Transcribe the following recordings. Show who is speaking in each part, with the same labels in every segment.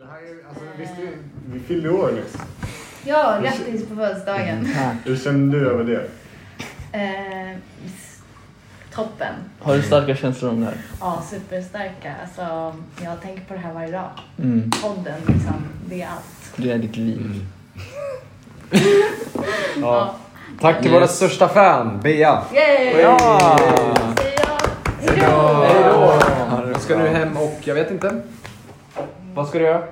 Speaker 1: Det här är- Alltså, visst, vi, vi fyllde år nyss.
Speaker 2: Ja, grattis på födelsedagen.
Speaker 1: Hur kände du över det?
Speaker 2: Eh, s- toppen.
Speaker 3: Har du starka känslor om det här?
Speaker 2: Ja, superstarka. Alltså, jag tänker på det här varje dag.
Speaker 3: Mm.
Speaker 2: Podden, liksom, det är allt.
Speaker 3: Det är ditt liv.
Speaker 4: Ja. Tack till våra största fan, Bea.
Speaker 2: Yay!
Speaker 4: Ja!
Speaker 2: Säger jag. Hejdå!
Speaker 4: Hej då! Nu ska du hem och jag vet inte. Vad ska du göra?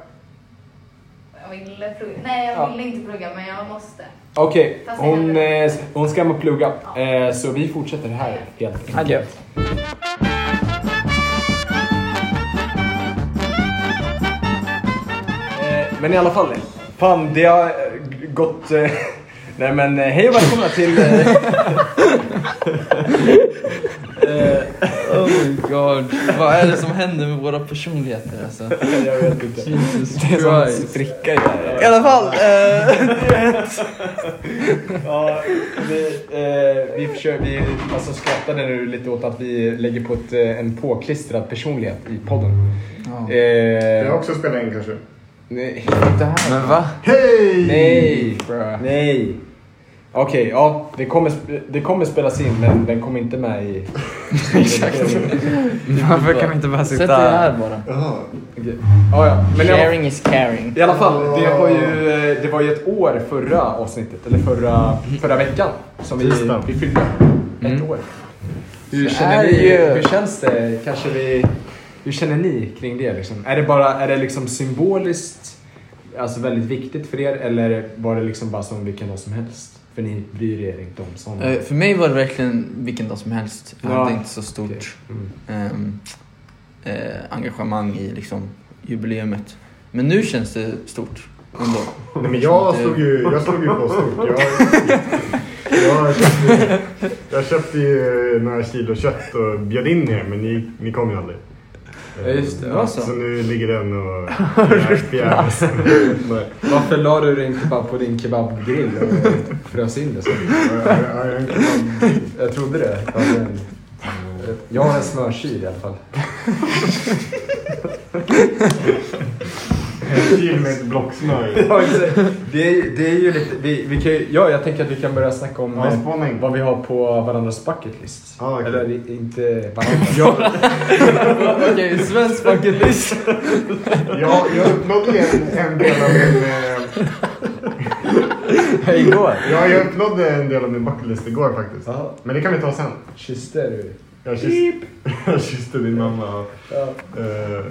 Speaker 2: Jag ville plugga. Nej, jag ville inte plugga, men jag måste.
Speaker 4: Okej,
Speaker 2: Fast jag
Speaker 4: hon,
Speaker 2: hellre-
Speaker 4: eh, hon ska hem och plugga. Eh, så vi fortsätter här helt
Speaker 3: Adjö.
Speaker 4: enkelt. Eh, men i alla fall, fan det har eh, g- gått... Eh, nej men eh, hej och välkomna till... Eh, eh,
Speaker 3: Oh my god. Vad är det som händer med våra personligheter alltså?
Speaker 4: jag vet inte.
Speaker 3: Jesus
Speaker 4: Det är som
Speaker 3: Christ.
Speaker 4: att dricka i det här.
Speaker 3: I alla fall. Eh,
Speaker 4: Ja, vi, eh, vi, försöker, vi alltså, skrattade nu lite åt att vi lägger på ett, eh, en påklistrad personlighet i podden.
Speaker 3: Ja.
Speaker 1: Jag har
Speaker 4: Eh,
Speaker 1: också spelat in kanske.
Speaker 4: nej.
Speaker 3: Men va?
Speaker 1: Hej!
Speaker 4: Nej! Nej! Okej, ja. Det kommer, sp- det kommer spelas in men den kommer inte med i... Exakt.
Speaker 5: Varför kan vi inte bara
Speaker 3: Sätt dig
Speaker 5: sitta...
Speaker 3: här bara.
Speaker 1: Jaha.
Speaker 4: ja, ja. Men i alla-
Speaker 3: Sharing is caring.
Speaker 4: i alla fall, det var, ju, eh, det var ju ett år förra avsnittet, eller förra, förra veckan, som vi,
Speaker 1: Tisdag.
Speaker 4: vi fyllde. Ett
Speaker 5: Mm.
Speaker 4: år. Hur
Speaker 3: Så är
Speaker 4: känner ni?
Speaker 3: det ju.
Speaker 4: Hur känns det? Kanske vi... Hur känner ni kring det? Liksom? Är det bara är det liksom symboliskt alltså väldigt viktigt för er eller var det liksom bara som vilken dag som helst? För ni bryr er inte om sånt.
Speaker 3: Eh, för mig var det verkligen vilken dag som helst. Jag
Speaker 4: Ja.
Speaker 3: hade inte så stort
Speaker 4: Okej. Mm.
Speaker 3: ehm, eh, engagemang i liksom, jubileumet. Men nu känns det stort ändå.
Speaker 1: Nej, men jag slog ju, jag slog ju på stort. Jag, jag, köpte, jag köpte ju några kilo kött och bjöd in er, men ni, ni kom ju aldrig.
Speaker 4: Ja, just det.
Speaker 1: Eh,
Speaker 3: Ja, så.
Speaker 1: så. nu ligger den och fjärs. Nej,
Speaker 4: Varför la du det inte bara på din kebabgrill och frös in det? Så?
Speaker 1: jag- jag- jag-
Speaker 4: Jag trodde det. Ja, men- Jag har en smörkyl i alla fall.
Speaker 1: En kil med ett blocksnöre.
Speaker 4: Ja, exakt. det, är, det är ju lite, vi, vi kan, ju- ja, jag tänker att vi kan börja snacka om
Speaker 1: Ja,
Speaker 4: eh,
Speaker 1: spåning.
Speaker 4: vad vi har på varandras bucket list.
Speaker 1: Ja, Ah, okej.
Speaker 4: Eller i- inte varandras. Jag,
Speaker 3: Okej, svensk bucket list.
Speaker 1: Jag, jag uppnådde en, en del av min... eh,
Speaker 4: igår.
Speaker 1: Ja, jag uppnådde en del av min bucketlist igår faktiskt.
Speaker 4: Jaha,
Speaker 1: Men det kan vi ta sen.
Speaker 4: kysste du?
Speaker 1: Jag kysste, jag kysste din mamma.
Speaker 4: Ja.
Speaker 1: Uh,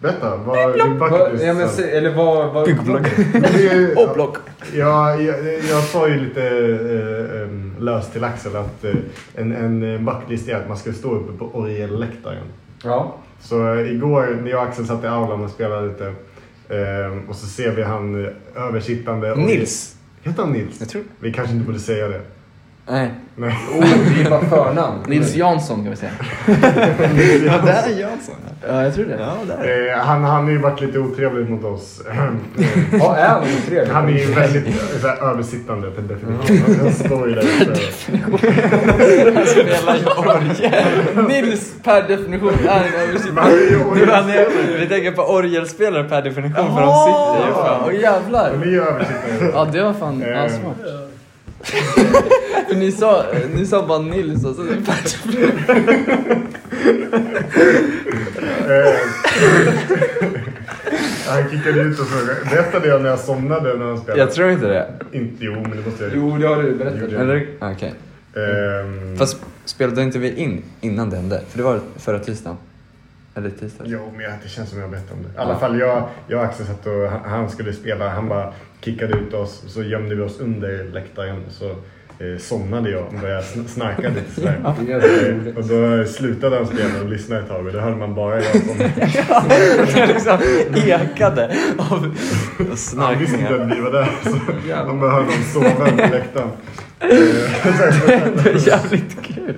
Speaker 1: berätta, vad din
Speaker 4: Vad-
Speaker 1: bucketlist
Speaker 4: ja, men, se- eller vad... vad
Speaker 3: Och
Speaker 1: ja,
Speaker 3: block.
Speaker 1: jag, jag, jag sa ju lite eh, em, löst till Axel att eh, en, en bucketlist är att man ska stå uppe på orgelläktaren.
Speaker 4: ja.
Speaker 1: Så eh, igår när jag och Axel satt i aulan och spelade lite eh, och så ser vi han eh, översittande. orgel-
Speaker 3: Nils.
Speaker 1: Heter han Nils?
Speaker 3: Jag tror
Speaker 1: Vi kanske inte borde säga det.
Speaker 3: Nej,
Speaker 1: Nej.
Speaker 4: Oh, det är bara förnamn.
Speaker 3: Nils Jansson kan vi säga.
Speaker 5: Ja, det är Jansson.
Speaker 3: Ja, jag tror det.
Speaker 5: Ja, det är
Speaker 1: Eh, han, han har ju varit lite otrevlig mot oss. Eh,
Speaker 4: Ja, är han otrevlig?
Speaker 1: Han är ju väldigt eh, så här, översittande per definition. Han står ju där uppe.
Speaker 3: Han spelar ju orgel. Nils per definition är en
Speaker 1: Men han är ju
Speaker 3: översittare.
Speaker 5: han
Speaker 1: orgelspelare.
Speaker 5: är, vi tänker på orgelspelare per definition för de
Speaker 3: Jaha!
Speaker 5: sitter ju fan.
Speaker 3: Åh jävlar.
Speaker 1: Han är ju översittare.
Speaker 3: Ja, det var fan ja,
Speaker 1: Eh.
Speaker 3: smart. För ni sa, ni sa bara Nils och så per definition.
Speaker 1: Eh, Han kickade ut och frågade. Berättade jag när jag somnade när han spelade?
Speaker 5: Jag tror inte det.
Speaker 1: Inte, jo, men det måste jag ju.
Speaker 4: Jo, det har du berättat.
Speaker 5: Eller? Okej.
Speaker 1: Ehm,
Speaker 5: Fast spelade inte vi in innan det hände? För det var förra tisdagen. Eller tisdags.
Speaker 1: Jo, men jag, det känns som jag har bett om det. I alla fall, jag, jag och Axel satt och han- han skulle spela. Han bara kickade ut oss. Så gömde vi oss under läktaren. Så eh, somnade jag och började sn- snarka lite sådär.
Speaker 4: Det är så roligt.
Speaker 1: Och då slutade han spela och lyssnade ett tag och då hörde man bara jag som
Speaker 5: Det liksom ekade av
Speaker 1: han visste inte
Speaker 5: snarkningar.
Speaker 1: att vi var där. Så han bara hörde dem sova på läktaren. Eh,
Speaker 5: Det är jävligt kul.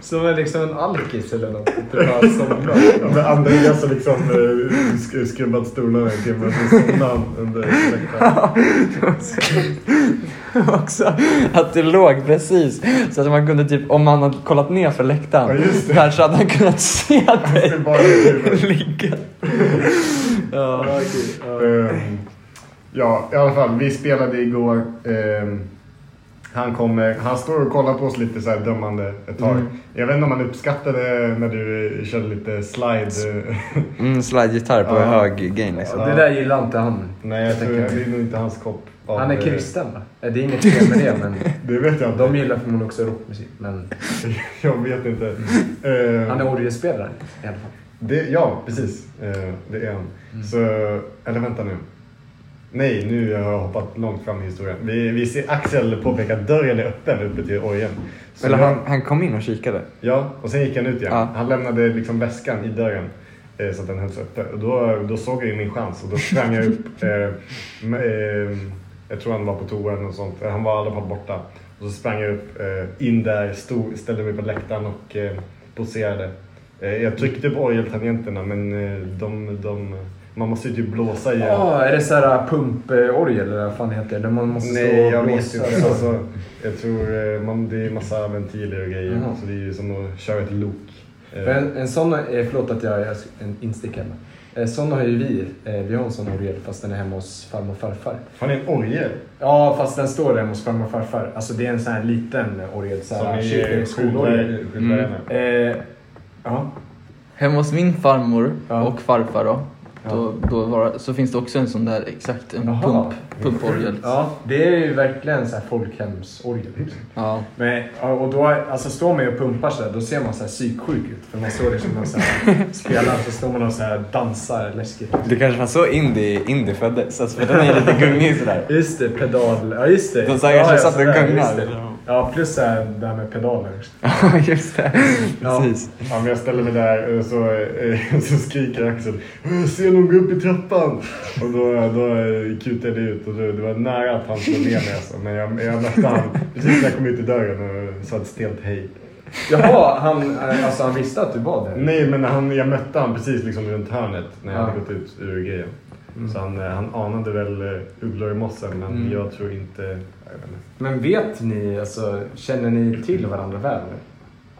Speaker 4: Som är liksom en alkis eller något. Inte bara somnar.
Speaker 1: Men Andreas har liksom eh, sk- skrubbat stolarna i en timme och så somnade han under läktaren.
Speaker 5: Också att det låg precis så att man kunde typ, om man hade kollat ner för läktaren
Speaker 1: Ja, just det.
Speaker 5: där så hade han kunnat se dig
Speaker 1: Det är bara-
Speaker 5: ligga.
Speaker 4: Ja,
Speaker 1: Ehm, ja, i alla fall. Vi spelade igår. Ehm, han, kommer, han står och kollar på oss lite så här dömande ett tag. Jag vet inte om han uppskattade när du eh, körde lite slide.
Speaker 5: Mm, slide-gitarr på
Speaker 1: Ja.
Speaker 5: hög gain liksom.
Speaker 4: Det där gillar inte han.
Speaker 1: Nej, jag tror det är nog inte hans kopp. av-
Speaker 4: Han är kristen va? Eh, Det är inget fel med det, men
Speaker 1: Det vet jag inte.
Speaker 4: de gillar förmodligen också rockmusik. Men
Speaker 1: Jag vet inte. Ehm,
Speaker 4: han är orgelspelare i alla fall.
Speaker 1: det, ja, precis. Ehm, det är han. Så, eller vänta nu. Nej, nu har jag hoppat långt fram i historien. Vi, vi ser Axel påpeka att dörren är öppen uppe till orgeln. Så
Speaker 5: Eller
Speaker 1: jag-
Speaker 5: han, han kom in och kikade.
Speaker 1: Ja, och sen gick han ut igen.
Speaker 5: Ja.
Speaker 1: Han lämnade liksom väskan i dörren eh, så att den hölls uppe. Och då, då såg jag ju min chans och då sprang jag upp. Eh, med, eh, jag tror han var på toa eller något sånt. Eh, Han var i alla fall borta. Och så sprang jag upp, eh, in där, stod, ställde mig på läktaren och eh, poserade. Eh, jag tryckte på orgeltangenterna men eh, de, de, man måste ju typ blåsa i
Speaker 4: Ja, är det såhär pumporgel eller vad fan heter det? Där man måste
Speaker 1: Nej,
Speaker 4: stå
Speaker 1: jag
Speaker 4: och
Speaker 1: vet
Speaker 4: blåsa?
Speaker 1: inte. Alltså, jag tror eh, man, det är massa ventiler och grejer.
Speaker 4: Jaha.
Speaker 1: Så det är ju som att köra ett lok. Eh,
Speaker 4: För en, en sån, eh, förlåt att jag är en instickare. men, eh, Sån har ju vi. Eh, Vi har en sån orgel fast den är hemma hos farmor och farfar.
Speaker 1: Har ni en orgel?
Speaker 4: Ja, fast den står hemma hos farmor och farfar. Alltså det är en sån här liten orgel. Så
Speaker 1: Som
Speaker 4: här, Mm.
Speaker 1: är
Speaker 4: kyrklig skolorgel.
Speaker 1: skolorna.
Speaker 4: Eh, ja.
Speaker 3: Hemma hos min farmor
Speaker 4: Ja.
Speaker 3: och farfar då,
Speaker 4: Ja.
Speaker 3: då, då var, så finns det också en sån där exakt en
Speaker 4: Jaha.
Speaker 3: pump, pumporgel.
Speaker 4: ja, det är ju verkligen så här folkhemsorgel. liksom.
Speaker 3: Ja.
Speaker 4: Men, ja, och då, alltså står man ju och pumpar så här, då ser man så här psyksjuk ut. För man står liksom och så här, spelar så står man och så här dansar läskigt.
Speaker 5: Det kanske var så indie, indie föddes. Alltså, för den är lite gungig sådär.
Speaker 4: Just det, pedal. Ja, just det.
Speaker 5: De så här kanske
Speaker 4: ja, ja,
Speaker 5: satt och
Speaker 4: sådär,
Speaker 5: gungade.
Speaker 4: just det. Ja, plus så här, det här med pedaler. också.
Speaker 5: Ja, just det.
Speaker 4: Ja.
Speaker 5: Precis.
Speaker 1: Ja, men jag ställer mig där och så, eh, så skriker Axel "Åh, Se någon gå upp i trappan! Och då, då eh, kutar jag det ut och då, det var nära att han slog ner mig alltså. Men jag, jag mötte han precis när jag kom ut i dörren och sa ett stelt hej.
Speaker 4: Jaha, han, eh, alltså, han visste att du var där?
Speaker 1: Nej men han, jag mötte han precis liksom runt hörnet när jag hade
Speaker 4: Ja.
Speaker 1: gått ut ur grejen. Så han, eh, han anade väl eh, ugglor i mossen men
Speaker 4: Mm.
Speaker 1: jag tror inte... jag vet inte.
Speaker 4: Men vet ni, alltså, känner ni till varandra väl?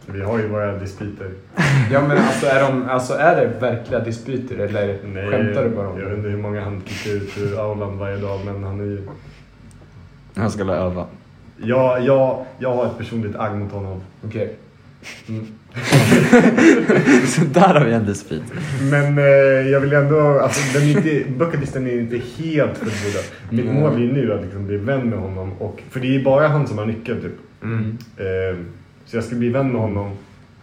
Speaker 1: Vi har ju våra dispyter.
Speaker 4: Ja men alltså är, de, alltså är det verkliga dispyter eller
Speaker 1: Nej,
Speaker 4: skämtar du bara om
Speaker 1: Jag vet
Speaker 4: det?
Speaker 1: inte hur många han kickar ut ur aulan varje dag, men han är ju...
Speaker 5: Han skulle öva.
Speaker 1: Jag, jag, jag har ett personligt agg mot honom.
Speaker 4: Okej.
Speaker 5: Så där har vi en dispyt.
Speaker 1: Men eh, jag vill ändå... Alltså, den är inte, bucketlisten är inte helt förbjuden. Mitt mål är ju nu att liksom bli vän med honom. Och, för det är ju bara han som har nyckeln, typ.
Speaker 4: Mm.
Speaker 1: Eh, så jag ska bli vän med honom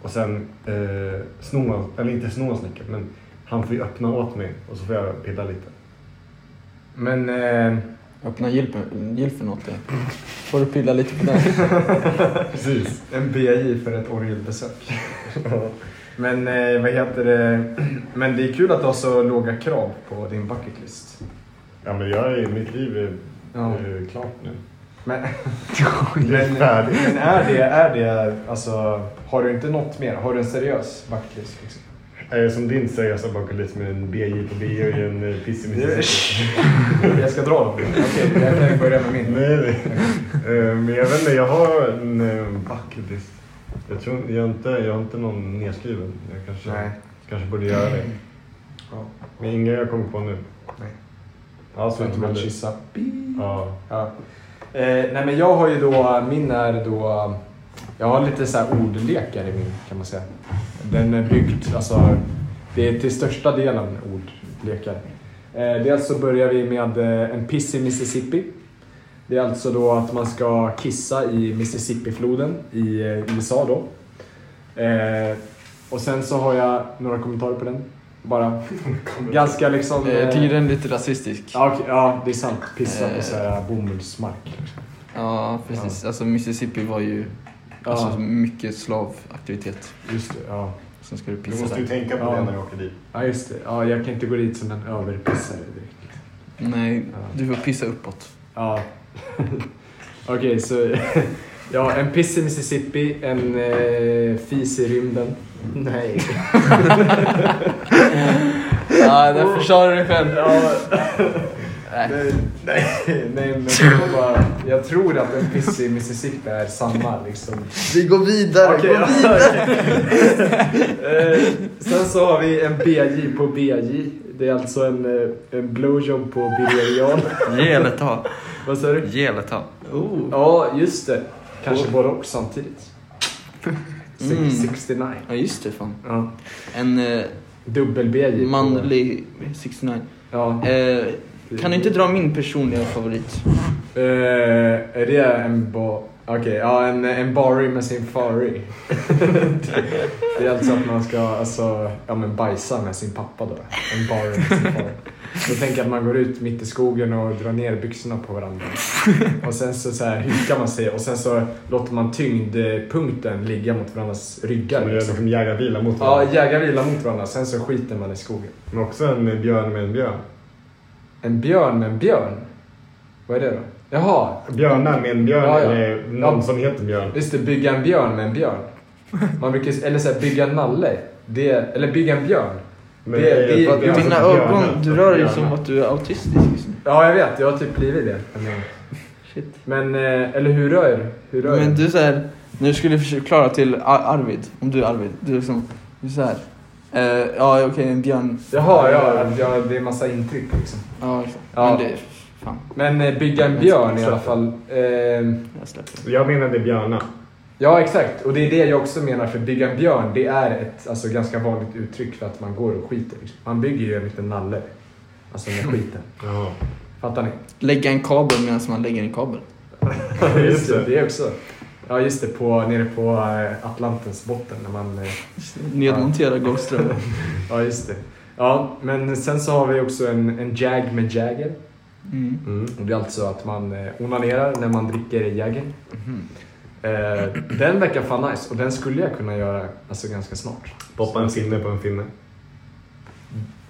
Speaker 1: och sen eh, sno hans... Eller inte sno hans nyckel, men han får ju öppna åt mig och så får jag pilla lite.
Speaker 4: Men, eh,
Speaker 3: Öppna gylfen gylfen åt dig. Får du pilla lite på den?
Speaker 1: Precis.
Speaker 4: en BI för ett orgelbesök. men eh, vad heter det? Men det är kul att du har så låga krav på din bucketlist.
Speaker 1: Ja, men jag är, mitt liv är
Speaker 4: Ja.
Speaker 1: eh, klart nu.
Speaker 4: Men,
Speaker 1: Det är
Speaker 4: men,
Speaker 1: färdigt.
Speaker 4: men är det, är det, alltså har du inte något mer? Har du en seriös bucketlist? Liksom?
Speaker 1: Eh, Som din seriösa bakulis med en BJ på bio i en eh, piss i Mississippi.
Speaker 4: jag ska dra dem. Okej, jag kan börja med min.
Speaker 1: Nej, nej. Eh, Men jag vet inte, jag har en eh, bucketlist. Jag tror jag har inte, jag har inte någon nedskriven. Jag kanske,
Speaker 4: Nej.
Speaker 1: kanske borde göra det.
Speaker 4: Ja.
Speaker 1: Men inga jag kommer på nu.
Speaker 4: Nej.
Speaker 1: Ja,
Speaker 4: Så
Speaker 1: så
Speaker 4: att
Speaker 1: inte
Speaker 4: man
Speaker 1: man
Speaker 4: kyssa.
Speaker 1: Ja.
Speaker 4: Ja. Eh, nej men jag har ju då, min är då, jag har lite så här ordlekar i min kan man säga. Den är byggd, alltså det är till största delen ordlekar. Eh, dels så börjar vi med eh, en piss i Mississippi. Det är alltså då att man ska kissa i Mississippifloden i eh, USA då. Eh, och sen så har jag några kommentarer på den. Bara ganska liksom...
Speaker 3: Jag
Speaker 4: eh,
Speaker 3: tycker den är lite rasistisk.
Speaker 4: Ja, okej, ja, det är sant. Pissa på
Speaker 3: Eh.
Speaker 4: så här bomullsmark.
Speaker 3: Ja, precis. Alltså Mississippi var ju
Speaker 4: Ja.
Speaker 3: alltså, mycket slavaktivitet.
Speaker 4: Just det, ja.
Speaker 3: Sen ska du
Speaker 1: Du
Speaker 3: pissa
Speaker 1: måste ju
Speaker 3: där.
Speaker 1: tänka på
Speaker 4: Ja.
Speaker 1: det när du åker dit.
Speaker 4: Ja, just det. Ja, jag kan inte gå dit som en överpissare direkt.
Speaker 3: Nej,
Speaker 4: Ja.
Speaker 3: du får pissa uppåt.
Speaker 4: Ja. Okej, så... Ja, en piss i Mississippi, en eh, fis i rymden. Nej.
Speaker 3: Ja, där försvarar du dig själv.
Speaker 4: Ja,
Speaker 3: Nej.
Speaker 4: nej, nej, nej, men jag, får bara, jag tror att en piss i Mississippi är samma liksom.
Speaker 5: Vi går vidare.
Speaker 4: Okej, ja, okej. Eh, Sen så har vi en BJ på BJ. Det är alltså en, eh, en blowjob på Birger
Speaker 5: Ge eller ta.
Speaker 4: Vad sa du?
Speaker 5: Ge eller ta.
Speaker 3: Oh.
Speaker 4: Ja, just det. Kanske både och samtidigt.
Speaker 3: Mm.
Speaker 4: 69.
Speaker 3: Ja just det fan.
Speaker 4: Ja.
Speaker 3: En eh,
Speaker 4: Dubbel-BJ. på-
Speaker 3: manlig 69.
Speaker 4: Ja.
Speaker 3: Eh, kan du inte dra min personliga favorit?
Speaker 4: Eh, är det en bar... Okej, ja en, en barry med sin fari. det, det är alltså att man ska alltså, ja, men bajsa med sin pappa då. En barry med sin fari. Då tänker jag att man går ut mitt i skogen och drar ner byxorna på varandra. Och sen så, så här hukar man sig och sen så låter man tyngdpunkten ligga mot varandras ryggar.
Speaker 1: Man gör
Speaker 4: Liksom.
Speaker 1: liksom jägarbilar mot
Speaker 4: Ja,
Speaker 1: varandra.
Speaker 4: jägar vilar mot varandra, sen så skiter man i skogen.
Speaker 1: Men också en björn med en björn.
Speaker 4: En björn med en björn? Vad är det då? Jaha,
Speaker 1: Björnar med en björn
Speaker 4: Ja, ja.
Speaker 1: eller någon
Speaker 4: Ja.
Speaker 1: som heter björn.
Speaker 4: Just det, bygga en björn med en björn. Man brukar, eller så här, bygga en nalle. Det, eller bygga en björn.
Speaker 1: Men
Speaker 4: Det-
Speaker 1: det är
Speaker 4: det-
Speaker 1: för att
Speaker 4: det-
Speaker 1: vi har
Speaker 4: mina
Speaker 3: Dina
Speaker 1: fått björnar,
Speaker 3: ögon,
Speaker 1: så
Speaker 3: du rör dig
Speaker 1: björnar.
Speaker 3: som att du är autistisk just nu.
Speaker 4: Ja, jag vet. Jag har typ blivit det. Men-
Speaker 3: Shit.
Speaker 4: Men, eh, eller hur rör jag? Hur rör
Speaker 3: Men
Speaker 4: jag?
Speaker 3: du såhär, när du skulle förklara till Ar- Arvid, om du är Arvid, du liksom, du såhär. Eh, ja okej, en björn.
Speaker 4: Jaha, ja, att jag, det är massa intryck liksom.
Speaker 3: Ja, exakt.
Speaker 4: Ja.
Speaker 3: Men det, fan,
Speaker 4: Men eh, bygga en björn i alla fall. Eh,
Speaker 3: jag släpper.
Speaker 1: Jag menade björnar.
Speaker 4: ja, exakt. Och det är det jag också menar. För bygga en björn, det är ett alltså, ganska vanligt uttryck för att man går och skiter. Liksom. Man bygger ju en liten nalle. Alltså med skiten.
Speaker 1: Jaha.
Speaker 4: Fattar ni?
Speaker 3: Lägga en kabel medan man lägger en kabel.
Speaker 1: Just det.
Speaker 4: Det också. Ja, just det. På, nere på eh, Atlantens botten när man... eh,
Speaker 3: Nedmontera gångströmmar.
Speaker 4: Ja, just det. Ja, men sen så har vi också en, en jag med Jagger.
Speaker 3: Mm.
Speaker 1: Mm.
Speaker 4: Och det är alltså att man eh, onanerar när man dricker Jagger. Eh, den verkar fan nice och den skulle jag kunna göra alltså, ganska snart.
Speaker 1: Poppa en finne på en finne.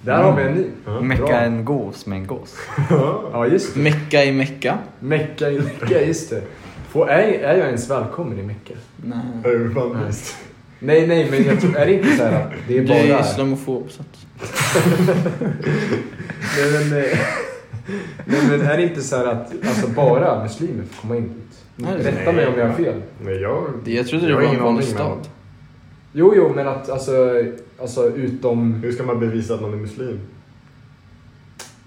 Speaker 4: Där har vi en ny.
Speaker 1: Ja.
Speaker 5: Mecka
Speaker 4: Bra.
Speaker 5: en gås med en gås.
Speaker 4: Ja, just det.
Speaker 3: Mecka i Mecka.
Speaker 4: Mecka i Mecka, just det. Får, är, är jag ens välkommen i Mecka?
Speaker 3: Nej.
Speaker 1: Urban beast.
Speaker 4: Nej, nej, men jag tror, är det inte så här att det är
Speaker 3: Du
Speaker 4: bara...
Speaker 3: är islamofob så att...
Speaker 4: Nej, men, eh, nej, men är det inte så här att alltså, bara muslimer får komma in dit?
Speaker 3: Nej,
Speaker 4: Rätta mig om jag har fel.
Speaker 1: Nej, jag...
Speaker 3: Det- Jag trodde det
Speaker 1: Jag har
Speaker 3: var en
Speaker 1: ingen
Speaker 3: vanlig
Speaker 1: aning, men-
Speaker 3: stad.
Speaker 4: Jo, jo, men att alltså, alltså utom...
Speaker 1: Hur ska man bevisa att man är muslim?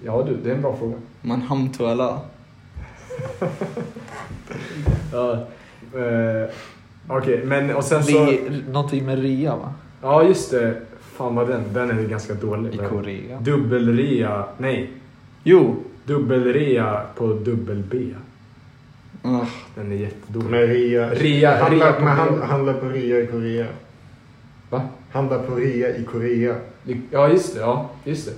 Speaker 4: Ja du, det är en bra fråga.
Speaker 3: Man hamtuala.
Speaker 4: Ja. eh, Okej, men och sen så...
Speaker 3: Re, någonting med rea va?
Speaker 4: Ja, just det. Fan vad den, den är ju ganska dålig.
Speaker 5: I
Speaker 4: men-
Speaker 5: Korea.
Speaker 4: Dubbelrea, nej.
Speaker 3: Jo.
Speaker 4: Dubbelrea på dubbel-B.
Speaker 3: Mm.
Speaker 4: Den är jättedålig.
Speaker 1: Men rea...
Speaker 4: Rea-
Speaker 1: handla,
Speaker 4: rea på
Speaker 1: men hand,
Speaker 4: rea.
Speaker 1: handla på rea i Korea.
Speaker 4: Va?
Speaker 1: Handla på rea i Korea.
Speaker 4: Ja, just det. Ja, just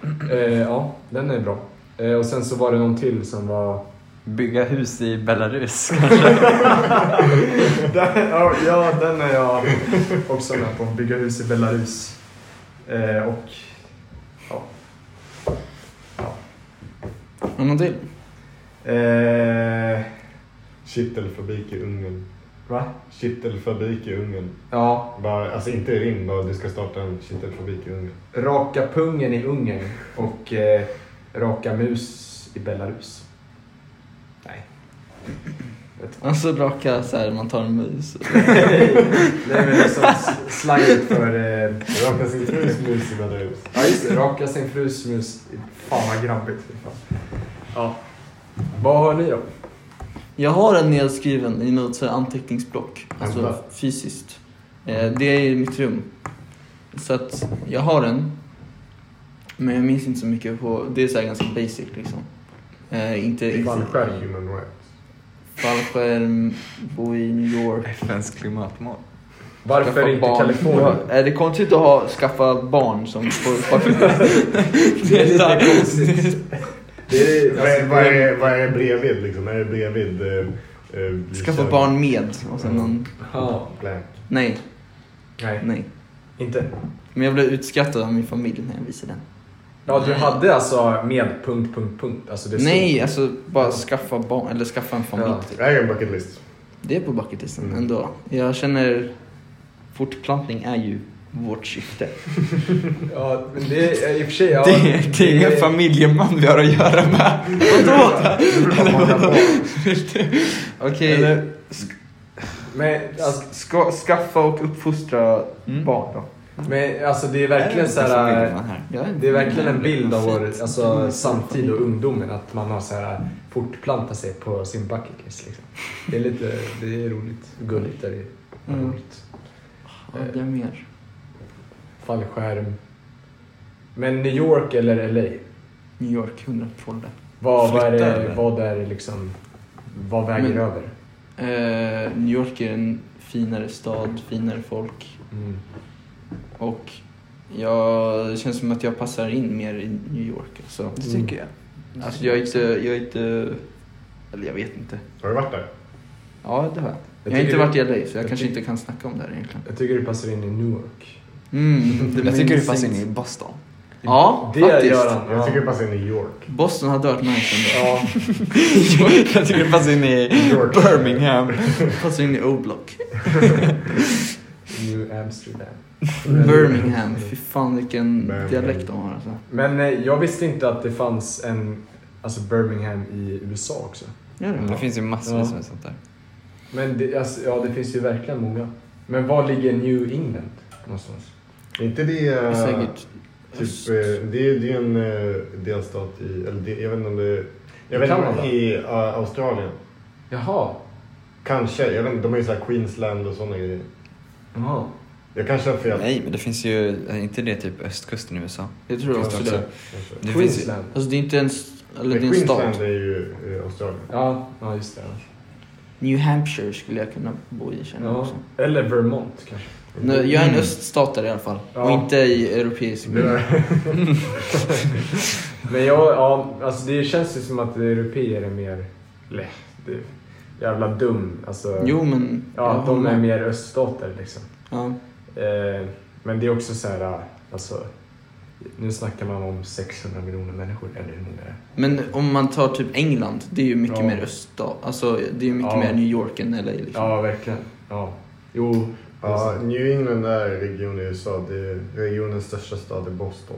Speaker 4: det. Eh, ja, den är bra. Eh, och sen så var det någon till som var...
Speaker 5: Bygga hus i Belarus.
Speaker 4: Den- ja, ja, den är jag också med på. Bygga hus i Belarus. Eh, och... Ja.
Speaker 3: Och Någon till?
Speaker 4: Eh,
Speaker 1: Kittelfabrik i Ungern.
Speaker 4: va?
Speaker 1: Kittelfabrik i Ungern.
Speaker 4: Ja,
Speaker 1: Bara, alltså inte i rim, bara du ska starta en kittelfabrik i Ungern.
Speaker 4: raka pungen i Ungern och eh, raka mus i Belarus. Nej.
Speaker 3: Alltså raka såhär, man tar en mus.
Speaker 4: Nej men liksom s- slanget för... Eh,
Speaker 1: Raka sin frus mus i Belarus.
Speaker 4: ja just det, raka sin frus mus. Fan vad grabbigt. fy Fan. Ja. Vad har ni då?
Speaker 3: Jag har en nedskriven i något så här anteckningsblock. Alltså
Speaker 1: Hämta.
Speaker 3: fysiskt. Eh, det är i mitt rum. Så att jag har en. Men jag minns inte så mycket på... Det är så här ganska basic liksom. Eh, inte... inte-
Speaker 1: Fallskärm. Human rights.
Speaker 3: Fallskärm, bo i New York.
Speaker 5: FNs klimatmål.
Speaker 4: Varför
Speaker 3: Skaffa
Speaker 4: inte
Speaker 3: barn.
Speaker 4: Kalifornien?
Speaker 3: Ja, är det konstigt att ha, skaffa barn som får
Speaker 4: Det är lite konstigt. Det är,
Speaker 1: Vad är,
Speaker 4: alltså,
Speaker 1: vad, är, vad är bredvid liksom? Är det bredvid... Eh, eh,
Speaker 3: skaffa
Speaker 1: kärn-
Speaker 3: barn med? Och sen någon,
Speaker 4: Ja.
Speaker 1: Blank.
Speaker 3: nej,
Speaker 4: Nej,
Speaker 3: nej.
Speaker 4: inte.
Speaker 3: Men jag blev utskattad av min familj när jag visade den.
Speaker 4: Ja, du hade alltså med punkt, punkt, punkt. Alltså, det är så.
Speaker 3: Nej, alltså bara skaffa barn, eller skaffa en familj. typ.
Speaker 4: Ja.
Speaker 1: Det här är en bucket list.
Speaker 3: Det är på bucketlisten
Speaker 1: Mm.
Speaker 3: ändå. Jag känner, fortplantning är ju vårt syfte.
Speaker 4: Ja, men det är i och för sig... Ja,
Speaker 3: det, det är ingen
Speaker 4: det-
Speaker 3: familjeman vi har att göra med. Vadå? Okej,
Speaker 4: Men alltså,
Speaker 3: ska, skaffa och uppfostra
Speaker 5: Mm.
Speaker 3: barn då.
Speaker 4: Men alltså det är verkligen så här... Det är verkligen en bild av vår alltså, samtid och ungdomen, att man har så här, fortplantat sig på sin bucket list. Liksom. Det är lite det är roligt, gulligt är det.
Speaker 3: Mm.
Speaker 4: Roligt.
Speaker 3: Vad är mer?
Speaker 4: Fallskärm. Men New York eller LA?
Speaker 3: New York, 100 från det.
Speaker 4: Vad, vad, är
Speaker 5: Flytta,
Speaker 4: det,
Speaker 5: eller?
Speaker 4: vad är det liksom... Vad väger
Speaker 3: Men-
Speaker 4: över?
Speaker 3: Eh, New York är en finare stad, finare folk
Speaker 4: Mm.
Speaker 3: och jag, det känns som att jag passar in mer i New York. Alltså,
Speaker 4: Det tycker
Speaker 5: jag.
Speaker 3: alltså jag är inte, jag är inte, eller jag vet inte.
Speaker 1: Har du varit där?
Speaker 3: Ja, det har jag. Jag, har
Speaker 4: tycker
Speaker 3: inte
Speaker 4: du-
Speaker 3: varit i LA så jag
Speaker 4: jag
Speaker 3: kanske
Speaker 4: tyck-
Speaker 3: inte kan snacka om det här egentligen.
Speaker 4: Jag tycker du passar in i New York.
Speaker 3: Mm,
Speaker 5: Jag tycker du passar in i Boston.
Speaker 3: Ja,
Speaker 4: det
Speaker 3: faktiskt.
Speaker 4: gör han.
Speaker 1: Jag
Speaker 4: Ja.
Speaker 1: tycker det passar in i New York.
Speaker 3: Boston hade varit nice ändå.
Speaker 4: Ja,
Speaker 5: jag tycker du passar in i
Speaker 1: York.
Speaker 5: Birmingham.
Speaker 3: Passar in i O-block.
Speaker 4: New Amsterdam.
Speaker 3: Birmingham. Fy fan vilken
Speaker 1: Mm. Birmingham.
Speaker 3: dialekt de har alltså.
Speaker 4: Men eh, jag visste inte att det fanns en alltså Birmingham i USA också.
Speaker 3: Gör det?
Speaker 5: Det finns ju massvis med sånt där.
Speaker 4: Men det, alltså, ja, det finns ju verkligen många. Men var ligger New England någonstans?
Speaker 1: Är inte det...
Speaker 3: Det är
Speaker 1: eh,
Speaker 3: Säkert.
Speaker 1: Typ, eh, det, är, det är en eh, delstat i... Eller det, jag vet inte om det... Jag vet
Speaker 4: Kanada?
Speaker 1: inte, i eh, Australien.
Speaker 4: Jaha.
Speaker 1: Kanske. Jag vet inte, de har ju så här Queensland och sådana grejer.
Speaker 4: Jaha.
Speaker 1: Jag kanske har fel.
Speaker 5: Nej, men det finns ju, är inte det typ östkusten i USA?
Speaker 3: Jag tror
Speaker 5: Finns det
Speaker 3: också
Speaker 5: också?
Speaker 3: det.
Speaker 1: Kanske.
Speaker 5: Det finns ju,
Speaker 4: Queensland.
Speaker 3: Alltså det är inte ens, eller
Speaker 1: Men
Speaker 3: det är en
Speaker 1: Queensland
Speaker 3: stat.
Speaker 1: är ju eh, Australien.
Speaker 4: Ja, ja, just det.
Speaker 3: New Hampshire skulle jag kunna bo i känner jag
Speaker 4: Ja.
Speaker 3: också.
Speaker 4: Eller Vermont kanske.
Speaker 3: Nej, Jag är en
Speaker 5: Mm.
Speaker 3: öststatare i alla fall.
Speaker 4: Ja.
Speaker 3: Och inte i europeisk.
Speaker 1: Det där.
Speaker 4: Men jag, ja, alltså det känns ju som att europeer är mer... Eller, det är jävla dum. Alltså,
Speaker 3: Jo men.
Speaker 4: ja,
Speaker 3: jag
Speaker 4: de
Speaker 3: håller
Speaker 4: är
Speaker 3: med.
Speaker 4: mer öststater liksom.
Speaker 3: Ja.
Speaker 4: Eh, men det är också så här, alltså, nu snackar man om 600 miljoner människor, eller hur många det är.
Speaker 3: Men om man tar typ England, det är ju mycket
Speaker 4: Ja.
Speaker 3: mer öststat. Alltså det är ju mycket
Speaker 4: Ja.
Speaker 3: mer New York än LA liksom.
Speaker 4: Ja, verkligen. Ja. Jo, alltså,
Speaker 1: Ja, New England är en region i USA. Det är regionens största stad är Boston.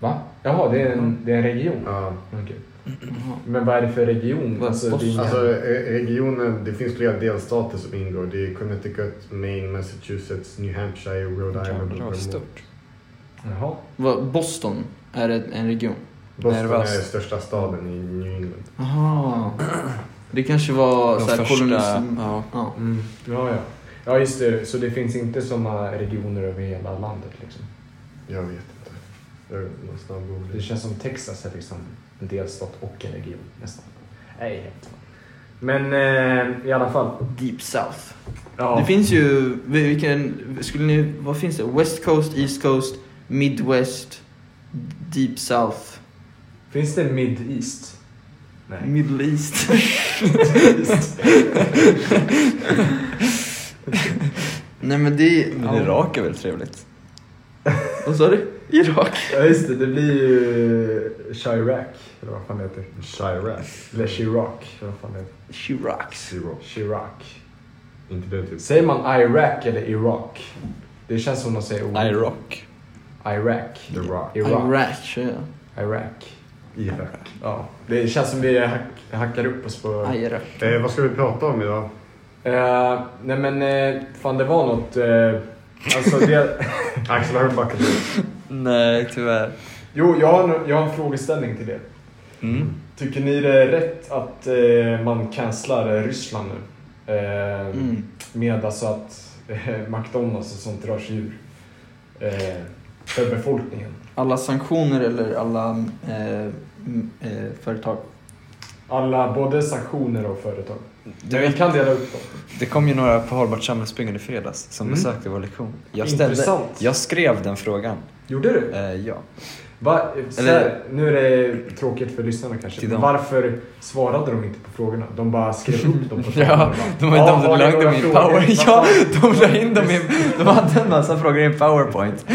Speaker 4: Va? Jaha, det är en, det är en region?
Speaker 1: Ja.
Speaker 4: Okej.
Speaker 3: Jaha.
Speaker 4: Men vad är det för region?
Speaker 3: Vad-
Speaker 4: det är inga-
Speaker 1: Alltså re- regionen, det finns flera delstater som ingår. Det är Connecticut, Maine, Massachusetts, New Hampshire, Rhode Island och
Speaker 5: Jävlar vad
Speaker 1: Vermont.
Speaker 5: stort.
Speaker 4: Jaha.
Speaker 3: Vad, Boston är en en region?
Speaker 5: Nej, det
Speaker 1: Boston
Speaker 5: var-
Speaker 1: är största staden i New England.
Speaker 3: Aha. Det kanske var
Speaker 5: De
Speaker 3: så här,
Speaker 5: första,
Speaker 3: kolonism.
Speaker 5: ja.
Speaker 3: Ja.
Speaker 4: Mm. Ja, ja. Ja, just det. Så det finns inte sådana regioner över hela landet liksom?
Speaker 1: Jag vet inte. Jag var snabb
Speaker 4: Det känns som Texas är liksom en delstat och en region nästan. Nej, helt sant. Men eh, i alla fall.
Speaker 3: Deep South.
Speaker 4: Ja.
Speaker 3: Det finns ju, vilken, skulle ni, vad finns det? West Coast, East Coast, Midwest, Deep South,
Speaker 4: Finns det Mid East? Nej.
Speaker 3: Middle East. Nej men det är...
Speaker 5: Men Irak är väl trevligt?
Speaker 3: Vad sa du? Irak?
Speaker 4: Ja just det, det blir ju Chirac, eller vad fan det heter.
Speaker 1: Chirac.
Speaker 4: Eller Chirac, eller vad fan det heter.
Speaker 3: Shiraks.
Speaker 1: Chirac.
Speaker 4: Chirac.
Speaker 1: Inte det typ.
Speaker 4: Säger man Iraq eller Irak? Det känns som de säger ord.
Speaker 5: Iraq.
Speaker 4: Iraq.
Speaker 1: The Rock.
Speaker 4: Irak.
Speaker 3: Irak, kör jag.
Speaker 4: Iraq.
Speaker 1: Irak.
Speaker 4: Ja. Det känns som vi hack- hackar upp oss på...
Speaker 3: Irak.
Speaker 1: Eh, vad ska vi prata om idag?
Speaker 4: Eh, nej men, eh, fan det var något... eh, alltså det...
Speaker 1: Axel, har du en bucket list?
Speaker 5: Nej, tyvärr.
Speaker 4: Jo, jag har, en- jag har en frågeställning till det.
Speaker 5: Mm.
Speaker 4: Tycker ni det är rätt att eh, man cancelar eh, Ryssland nu? Eh,
Speaker 3: Mm.
Speaker 4: Med alltså att eh, McDonalds och sånt drar sig ur. Eh, för befolkningen.
Speaker 3: Alla sanktioner eller alla eh, m- eh, företag?
Speaker 4: Alla, både sanktioner och företag.
Speaker 5: Du
Speaker 4: Men vi
Speaker 5: vet,
Speaker 4: kan dela upp dem.
Speaker 5: det kom ju några på Hållbart samhällsbyggande i fredags som
Speaker 4: Mm.
Speaker 5: besökte vår lektion. Jag, ställde,
Speaker 4: Intressant.
Speaker 5: jag skrev den frågan.
Speaker 4: Gjorde du?
Speaker 5: Eh, ja.
Speaker 4: Va, så
Speaker 5: Eller-
Speaker 4: här, nu är det tråkigt för lyssnarna kanske.
Speaker 5: Till
Speaker 4: Men
Speaker 5: dem.
Speaker 4: varför svarade de inte på frågorna? De bara skrev upp dem på
Speaker 5: Ja,
Speaker 4: tavlan och
Speaker 5: De,
Speaker 4: bara,
Speaker 5: de,
Speaker 4: "Ja, har ni
Speaker 5: de la in
Speaker 4: några
Speaker 5: dem i
Speaker 4: frågor?"
Speaker 5: power...
Speaker 4: Vad
Speaker 5: Ja,
Speaker 4: fan?
Speaker 5: de la in dem i... De hade en massa frågor i en powerpoint.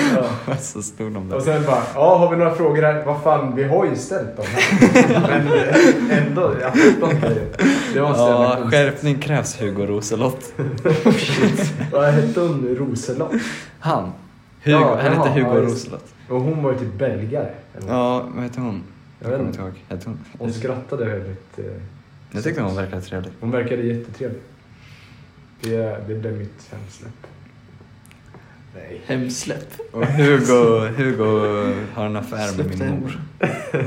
Speaker 4: Ja.
Speaker 5: Så stod de
Speaker 4: Och
Speaker 5: där.
Speaker 4: sen bara, ja har vi några frågor här? Vad fan, vi har ju ställt dem här. Men eh, ändå, jag fattar inte det. Det var så jävla Oh,
Speaker 5: Ja,
Speaker 4: konstigt.
Speaker 5: skärpning krävs Hugo Roselott.
Speaker 4: Vad hette hon? Roselott?
Speaker 5: Han. Hugo,
Speaker 4: Ja,
Speaker 5: han
Speaker 4: jaha,
Speaker 5: hette Hugo
Speaker 4: ja, just det.
Speaker 5: Roselott.
Speaker 4: Och hon var ju typ belgare. eller?
Speaker 5: Ja, vad hette hon?
Speaker 4: Jag vet
Speaker 5: Jag kommer
Speaker 4: inte.
Speaker 5: inte ihåg. Hette hon?
Speaker 4: Hon skrattade väldigt. eh,
Speaker 5: Jag tyckte hon verkade trevlig.
Speaker 4: Hon verkade jättetrevlig. Det, det blev mitt fem snäpp.
Speaker 1: Nej.
Speaker 3: Hemsläpp.
Speaker 5: Och Hugo, Hugo har en affär med
Speaker 3: Släpp det
Speaker 5: min mor.
Speaker 3: hem.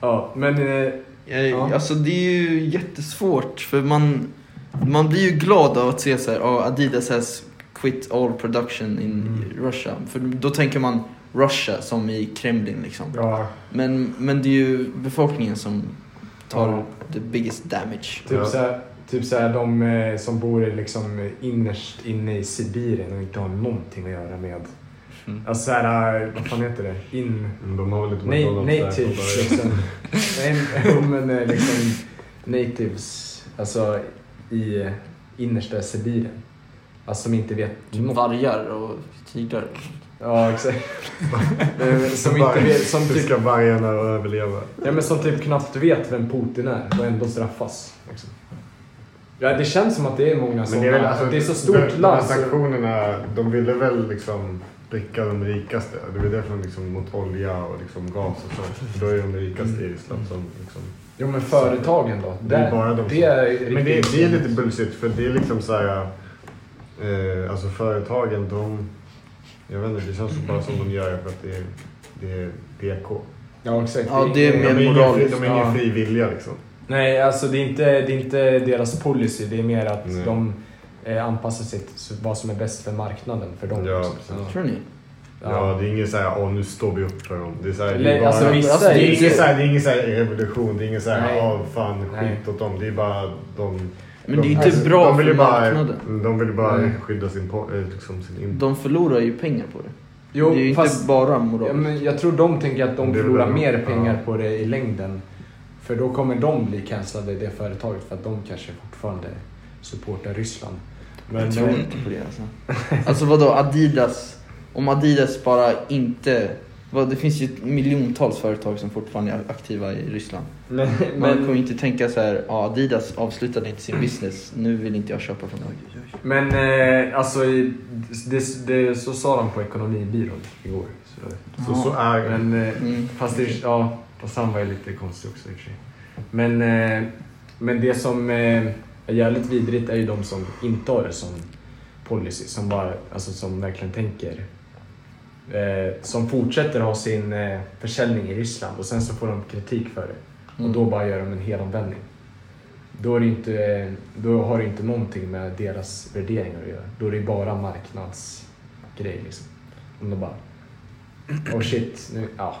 Speaker 4: Ja, men... Eh,
Speaker 3: Jag,
Speaker 4: Ja.
Speaker 3: Alltså det är ju jättesvårt för man, man blir ju glad av att se så här, "Ah, Adidas has quit all production in
Speaker 4: Mm.
Speaker 3: Russia. För då tänker man Russia som i Kremlin liksom.
Speaker 4: ja,
Speaker 3: Men, men det är ju befolkningen som tar
Speaker 4: Ja.
Speaker 3: the biggest damage.
Speaker 4: typ
Speaker 1: Ja.
Speaker 4: så här, typ så här, de eh, som bor i liksom innerst inne i Sibirien och inte har någonting att göra med...
Speaker 5: Mm.
Speaker 4: Alltså så här, eh, vad fan heter det? In...
Speaker 1: Mm, De har väl lite
Speaker 4: Nej,
Speaker 1: McDonald's där på
Speaker 4: natives
Speaker 1: varje-
Speaker 4: liksom. Nej, men- men eh, liksom natives, alltså i eh, innersta Sibirien. Alltså som inte vet något.
Speaker 3: Vargar och tigrar.
Speaker 4: Ja, exakt. Nej, men som inte
Speaker 1: Varje-
Speaker 4: vet, som
Speaker 1: Hur
Speaker 4: typ,
Speaker 1: ska vargarna överleva?
Speaker 4: ja, men som typ knappt vet vem Putin är och ändå straffas. Liksom. Ja, det känns som att det är många som...
Speaker 1: Men det är, väl, alltså,
Speaker 4: det är så
Speaker 1: de,
Speaker 4: stort
Speaker 1: de här
Speaker 4: land. så-
Speaker 1: sanktionerna, de ville väl liksom pricka de rikaste. Det var därför de liksom mot olja och liksom gas och sånt. För Då är de rikaste i Ryssland som liksom...
Speaker 4: Jo, men företagen då?
Speaker 1: Det är
Speaker 4: Där-
Speaker 1: bara de
Speaker 4: Mm. det
Speaker 1: som-
Speaker 4: är
Speaker 1: Men det,
Speaker 4: riktigt-
Speaker 1: det är lite bullshit för det är liksom så här... Eh, alltså företagen de... Jag vet inte, det känns bara som de gör för att det är, det är PK.
Speaker 4: Ja, exakt.
Speaker 3: Ja, det är
Speaker 1: De
Speaker 3: mer
Speaker 1: är ingen fri,
Speaker 3: moraliskt.
Speaker 1: de är ingen
Speaker 4: ja.
Speaker 1: fri vilja liksom.
Speaker 4: Nej, alltså det är inte, det är inte deras policy. Det är mer att
Speaker 1: Nej.
Speaker 4: de eh, anpassar sig till vad som är bäst för marknaden för dem.
Speaker 1: Ja,
Speaker 4: liksom.
Speaker 1: precis.
Speaker 3: Tror ni?
Speaker 1: Ja. det är ingen såhär, åh nu står vi upp för dem. Det är såhär, det är
Speaker 4: Eller,
Speaker 1: bara...
Speaker 4: alltså, vissa
Speaker 3: Alltså,
Speaker 1: det
Speaker 4: är
Speaker 1: är
Speaker 4: ju-
Speaker 1: ingen såhär, det är ingen såhär revolution, det är ingen såhär,
Speaker 4: Nej.
Speaker 1: åh fan skit
Speaker 4: Nej.
Speaker 1: åt dem. Det är bara de...
Speaker 3: Men det är ju inte
Speaker 1: alltså,
Speaker 3: bra
Speaker 1: de vill
Speaker 3: för
Speaker 1: ju
Speaker 3: marknaden.
Speaker 1: bara, De vill ju bara
Speaker 4: Nej.
Speaker 1: skydda sin, po- eh, liksom, sin import.
Speaker 3: De förlorar ju pengar på det.
Speaker 4: Jo,
Speaker 3: det är ju
Speaker 4: fast,
Speaker 3: inte bara moraliskt.
Speaker 4: ja, men jag tror de tänker att de
Speaker 1: Det är
Speaker 4: förlorar
Speaker 1: väl-
Speaker 4: mer pengar
Speaker 1: ja.
Speaker 4: på det i längden. För då kommer de bli cancellade, det företaget, för att de kanske fortfarande supportar Ryssland. Men,
Speaker 3: Jag tror
Speaker 4: eh,
Speaker 3: inte på det alltså. Alltså vadå Adidas? Om Adidas bara inte... Vad, det finns ju miljontals företag som fortfarande är aktiva i Ryssland.
Speaker 4: nej,
Speaker 3: Man kommer
Speaker 4: men,
Speaker 3: ju inte tänka så här, ja Adidas avslutade inte sin business, nu vill inte jag köpa från dem.
Speaker 4: men eh, alltså, i- det, det, så sa de på ekonomibyrån igår. Så.
Speaker 1: Så, så är det.
Speaker 4: Men, eh,
Speaker 3: Mm.
Speaker 4: Fast, det, ja, fast han var ju lite konstig också i och för sig. Men, eh, men det som eh, är jävligt vidrigt är ju de som inte har det som policy. Som, bara, alltså, som verkligen tänker. Eh, som fortsätter ha sin eh, försäljning i Ryssland och sen så får de kritik för det.
Speaker 3: Mm.
Speaker 4: Och då bara gör de en helomvändning. Då, är det inte, eh, då har det inte någonting med deras värderingar att göra. Då är det bara marknadsgrej liksom. Om de bara... Oh shit, nu... Ja.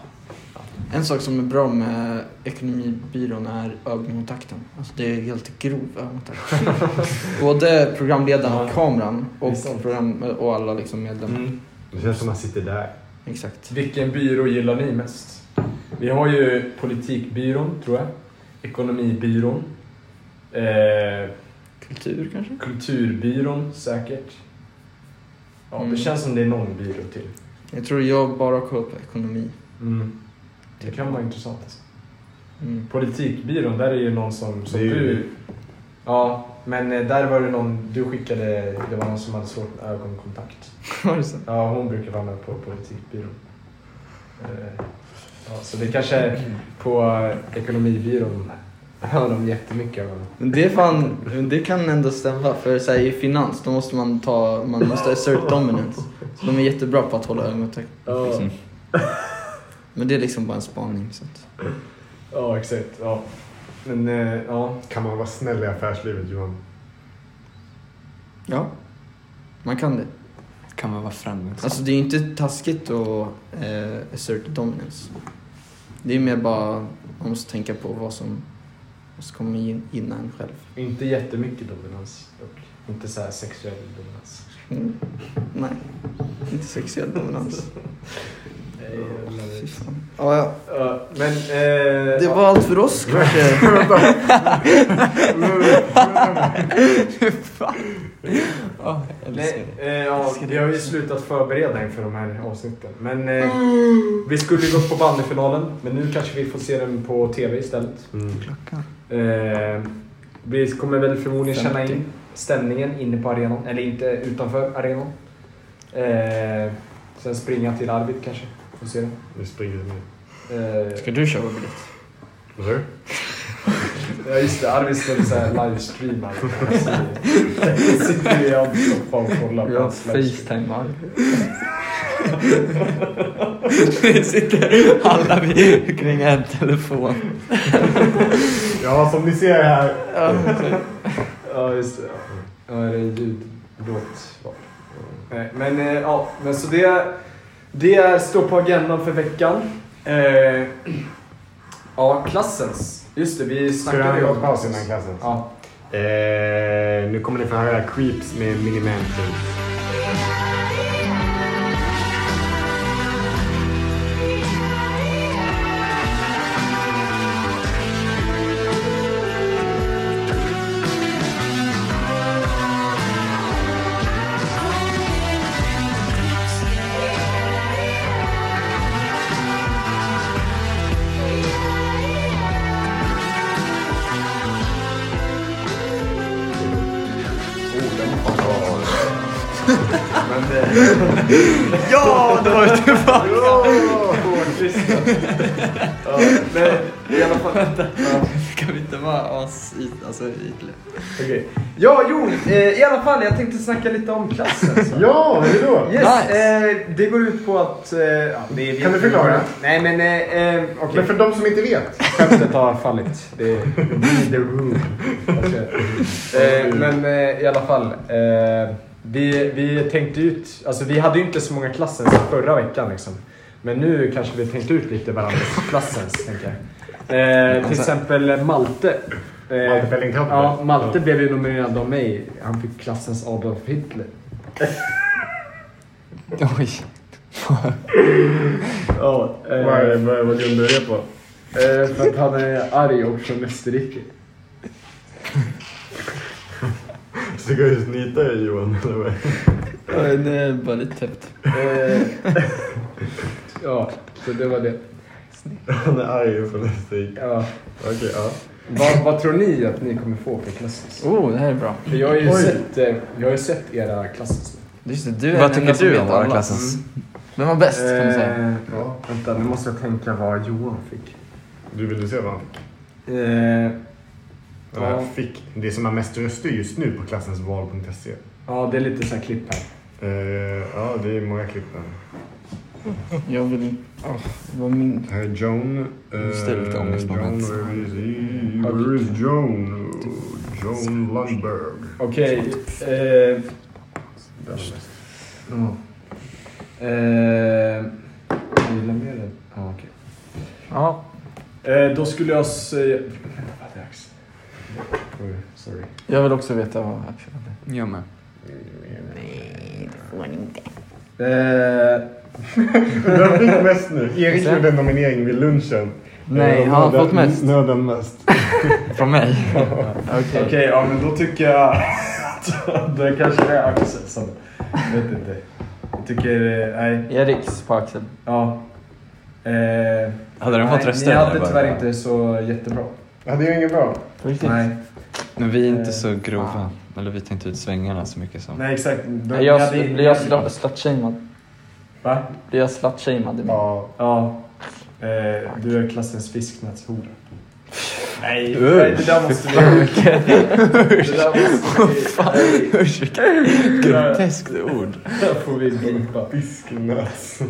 Speaker 3: En sak som är bra med ekonomibyrån är ögonkontakten. Alltså det är helt grov ögonkontakt. Både programledaren och
Speaker 4: Ja.
Speaker 3: kameran
Speaker 4: Det är
Speaker 3: och,
Speaker 4: sant.
Speaker 3: program, och alla liksom medlemmar.
Speaker 1: Det känns som att man sitter där.
Speaker 3: Exakt.
Speaker 4: Vilken byrå gillar ni mest? Vi har ju politikbyrån, tror jag. Ekonomibyrån. Eh,
Speaker 3: Kultur kanske?
Speaker 4: kulturbyrån, säkert. Ja,
Speaker 3: Mm.
Speaker 4: Det känns som det är någon byrå till.
Speaker 3: Jag tror jag bara har kollat på ekonomi.
Speaker 1: Mm.
Speaker 4: Det kan vara intressant. Alltså.
Speaker 3: Mm.
Speaker 4: Politikbyrån, där är ju någon som, som
Speaker 1: Det är ju-
Speaker 4: du... Ja, men eh, där var det någon du skickade, det var någon som hade svårt med ögonkontakt.
Speaker 3: Var det så?
Speaker 4: Ja, hon brukar vara med på politikbyrån. Eh, Ja, så det kanske är på eh, ekonomibyrån har de jättemycket av
Speaker 3: Men det, är fan, men det kan ändå stämma, för så här, i finans då måste man ta, man måste assert dominance. Så de är jättebra på att hålla ögonkontakt.
Speaker 4: Ja,
Speaker 3: Men det är liksom bara en spaning. Så att.
Speaker 4: ja exakt. Ja. Men eh, ja,
Speaker 1: Kan man vara snäll i affärslivet Johan?
Speaker 3: Ja, man kan det.
Speaker 5: Kan man vara framgångsrik?
Speaker 3: Alltså det är ju inte taskigt att eh, assert dominance. Det är mer bara, man måste tänka på vad som, vad som kommer in, innan en själv.
Speaker 4: inte jättemycket dominans dock. Inte så här sexuell dominans.
Speaker 3: Mm. Nej, inte sexuell dominans. Fy fan. Ja, ja.
Speaker 4: Ja, men... Eh,
Speaker 3: Det var allt för oss kanske.
Speaker 5: Ja, jag
Speaker 4: Nej,
Speaker 5: älskar det.
Speaker 4: eh, ja, vi har ju slutat förbereda inför de här avsnitten. Men eh, vi skulle ju gått på bandyfinalen, men nu kanske vi får se den på TV istället.
Speaker 1: Mm,
Speaker 5: Klockan.
Speaker 4: Eh, vi kommer väl förmodligen känna
Speaker 3: 50.
Speaker 4: in stämningen inne på arenan, eller inte utanför arenan. Eh, sen springa till Arvid kanske, får se det.
Speaker 1: Nu springer vi.
Speaker 4: Eh,
Speaker 3: Ska du köpa biljett?
Speaker 1: Vad sa du?
Speaker 4: Ja just det, Arvid skulle såhär livestreama. Så Sitter vi i Amsterdam och kollar på
Speaker 5: Jag
Speaker 4: hans livestream.
Speaker 5: facetimar.
Speaker 3: Nu sitter alla vi kring en telefon.
Speaker 1: Ja, som ni ser här.
Speaker 4: Ja just det. Ja, Ja, det är ljud. Låt. Ja. Nej, men eh, ja, men så det, det står på agendan för veckan. Eh, ja, klassens. Just det, vi
Speaker 1: Ska vi ha
Speaker 4: snackade
Speaker 1: en
Speaker 4: ju
Speaker 1: kort
Speaker 4: om
Speaker 1: paus innan klassen?
Speaker 4: Ja.
Speaker 1: Eh, nu kommer ni få höra Creeps med Miniman Things.
Speaker 4: eh,
Speaker 3: Ja, det var ju tuffa!
Speaker 4: Ja, men i alla fall. Ja.
Speaker 3: Kan vi inte vara as i, alltså, ytliga?
Speaker 4: Okej. Ja, jo, eh, i alla fall jag tänkte snacka lite om klassen. Så.
Speaker 1: Ja, hur då?
Speaker 4: Yes,
Speaker 3: Nice.
Speaker 4: eh, det går ut på att... Eh, ja, det är
Speaker 1: Kan du förklara?
Speaker 4: Nej men, eh, eh, okej.
Speaker 1: Men för de som inte vet.
Speaker 4: Skämtet har fallit. Det är the room. eh, men eh, i alla fall. Eh, vi, vi tänkte ut, alltså vi hade ju inte så många klassens förra veckan liksom. Men nu kanske vi tänkte ut lite varandras klassens, tänker jag. Eh, till exempel Malte. Eh,
Speaker 1: Malte Fällingkamp.
Speaker 4: Ja, Malte
Speaker 1: Ja.
Speaker 4: blev ju nominerad av mig. Han fick klassens Adolf Hitler.
Speaker 5: Oj.
Speaker 4: Ja, eh,
Speaker 1: Vad, vad, vad grundar du det på?
Speaker 4: eh, för att han är arg och från Österrike.
Speaker 1: Ska du snyta dig Johan? eller vad?
Speaker 3: Det är bara lite täppt.
Speaker 4: Eh, ja, så det var det.
Speaker 1: Han är arg från Österrike.
Speaker 4: Ja.
Speaker 1: Okej, ja.
Speaker 4: Vad, vad tror ni att ni kommer få för klassens?
Speaker 3: Oh, det här är bra.
Speaker 4: För jag har ju
Speaker 1: Oj.
Speaker 4: sett, eh, jag har ju sett era klassens.
Speaker 3: Just det, du är
Speaker 5: Vad
Speaker 3: den
Speaker 5: tycker
Speaker 3: enda som
Speaker 5: du
Speaker 3: vet
Speaker 5: om våra
Speaker 3: alla.
Speaker 5: klassens? Eh,
Speaker 3: Mm. Vem var bäst kan man säga?
Speaker 4: ja, Eh, vänta, nu måste jag tänka vad Johan fick.
Speaker 1: Du ville se vad han fick?
Speaker 4: Eh,
Speaker 1: Eller
Speaker 4: Ja.
Speaker 1: fick. Det som har mest röster just nu på klassensval.se.
Speaker 4: ja, det är lite så här klipp här.
Speaker 1: Eh, ja, det är många klipp där.
Speaker 3: Jag vill inte... åh, det var min...
Speaker 1: Här är Joan. eh,
Speaker 5: Just det, lite ångestmoment.
Speaker 1: Joan, eh, where is Joan? Joan Lundberg.
Speaker 4: Okej. eh, ja. Eh, jag gillar mer det. Ja, okej.
Speaker 3: Ja.
Speaker 4: Eh, då skulle jag säga... Vad är det?
Speaker 1: Oj, Sorry.
Speaker 3: Jag vill också veta vad Axel hade.
Speaker 5: Jag med.
Speaker 4: Eh,
Speaker 1: Vem fick mest nu? Erik
Speaker 3: Sen-
Speaker 1: gjorde en nominering vid lunchen.
Speaker 3: Nej,
Speaker 1: Eh,
Speaker 3: han har
Speaker 1: nöden-
Speaker 3: fått mest.
Speaker 1: Nöden mest.
Speaker 5: Från mig?
Speaker 3: Okej.
Speaker 4: Okej, ja men då tycker jag att det kanske är Axel som... Jag vet inte. Jag tycker... eh, Nej.
Speaker 3: Eriks på Axel.
Speaker 4: Ja. Eh,
Speaker 5: Hade den
Speaker 4: nej,
Speaker 5: fått röster?
Speaker 4: Ni
Speaker 5: eller
Speaker 4: hade
Speaker 5: bara-
Speaker 4: tyvärr inte så jättebra.
Speaker 1: Ja, det är ju inget bra.
Speaker 3: På riktigt?
Speaker 4: Nej, Eh,
Speaker 5: Men vi är inte så grova. Eller vi tar inte ut svängarna så mycket som...
Speaker 4: nej exakt. Då-
Speaker 3: Blir
Speaker 4: ni
Speaker 3: jag,
Speaker 4: hade-
Speaker 3: blir jag slut- slutshamead?
Speaker 4: Va?
Speaker 3: Blir jag slutshamead i mig?
Speaker 1: Ja.
Speaker 4: Ja. Eh, du är klassens fisknätshora. Nej,
Speaker 5: Usch.
Speaker 4: nej, det där måste vi... Det där måste vi...
Speaker 5: Usch vilket groteskt ord.
Speaker 4: Det där får vi blipa.
Speaker 1: Fisknös.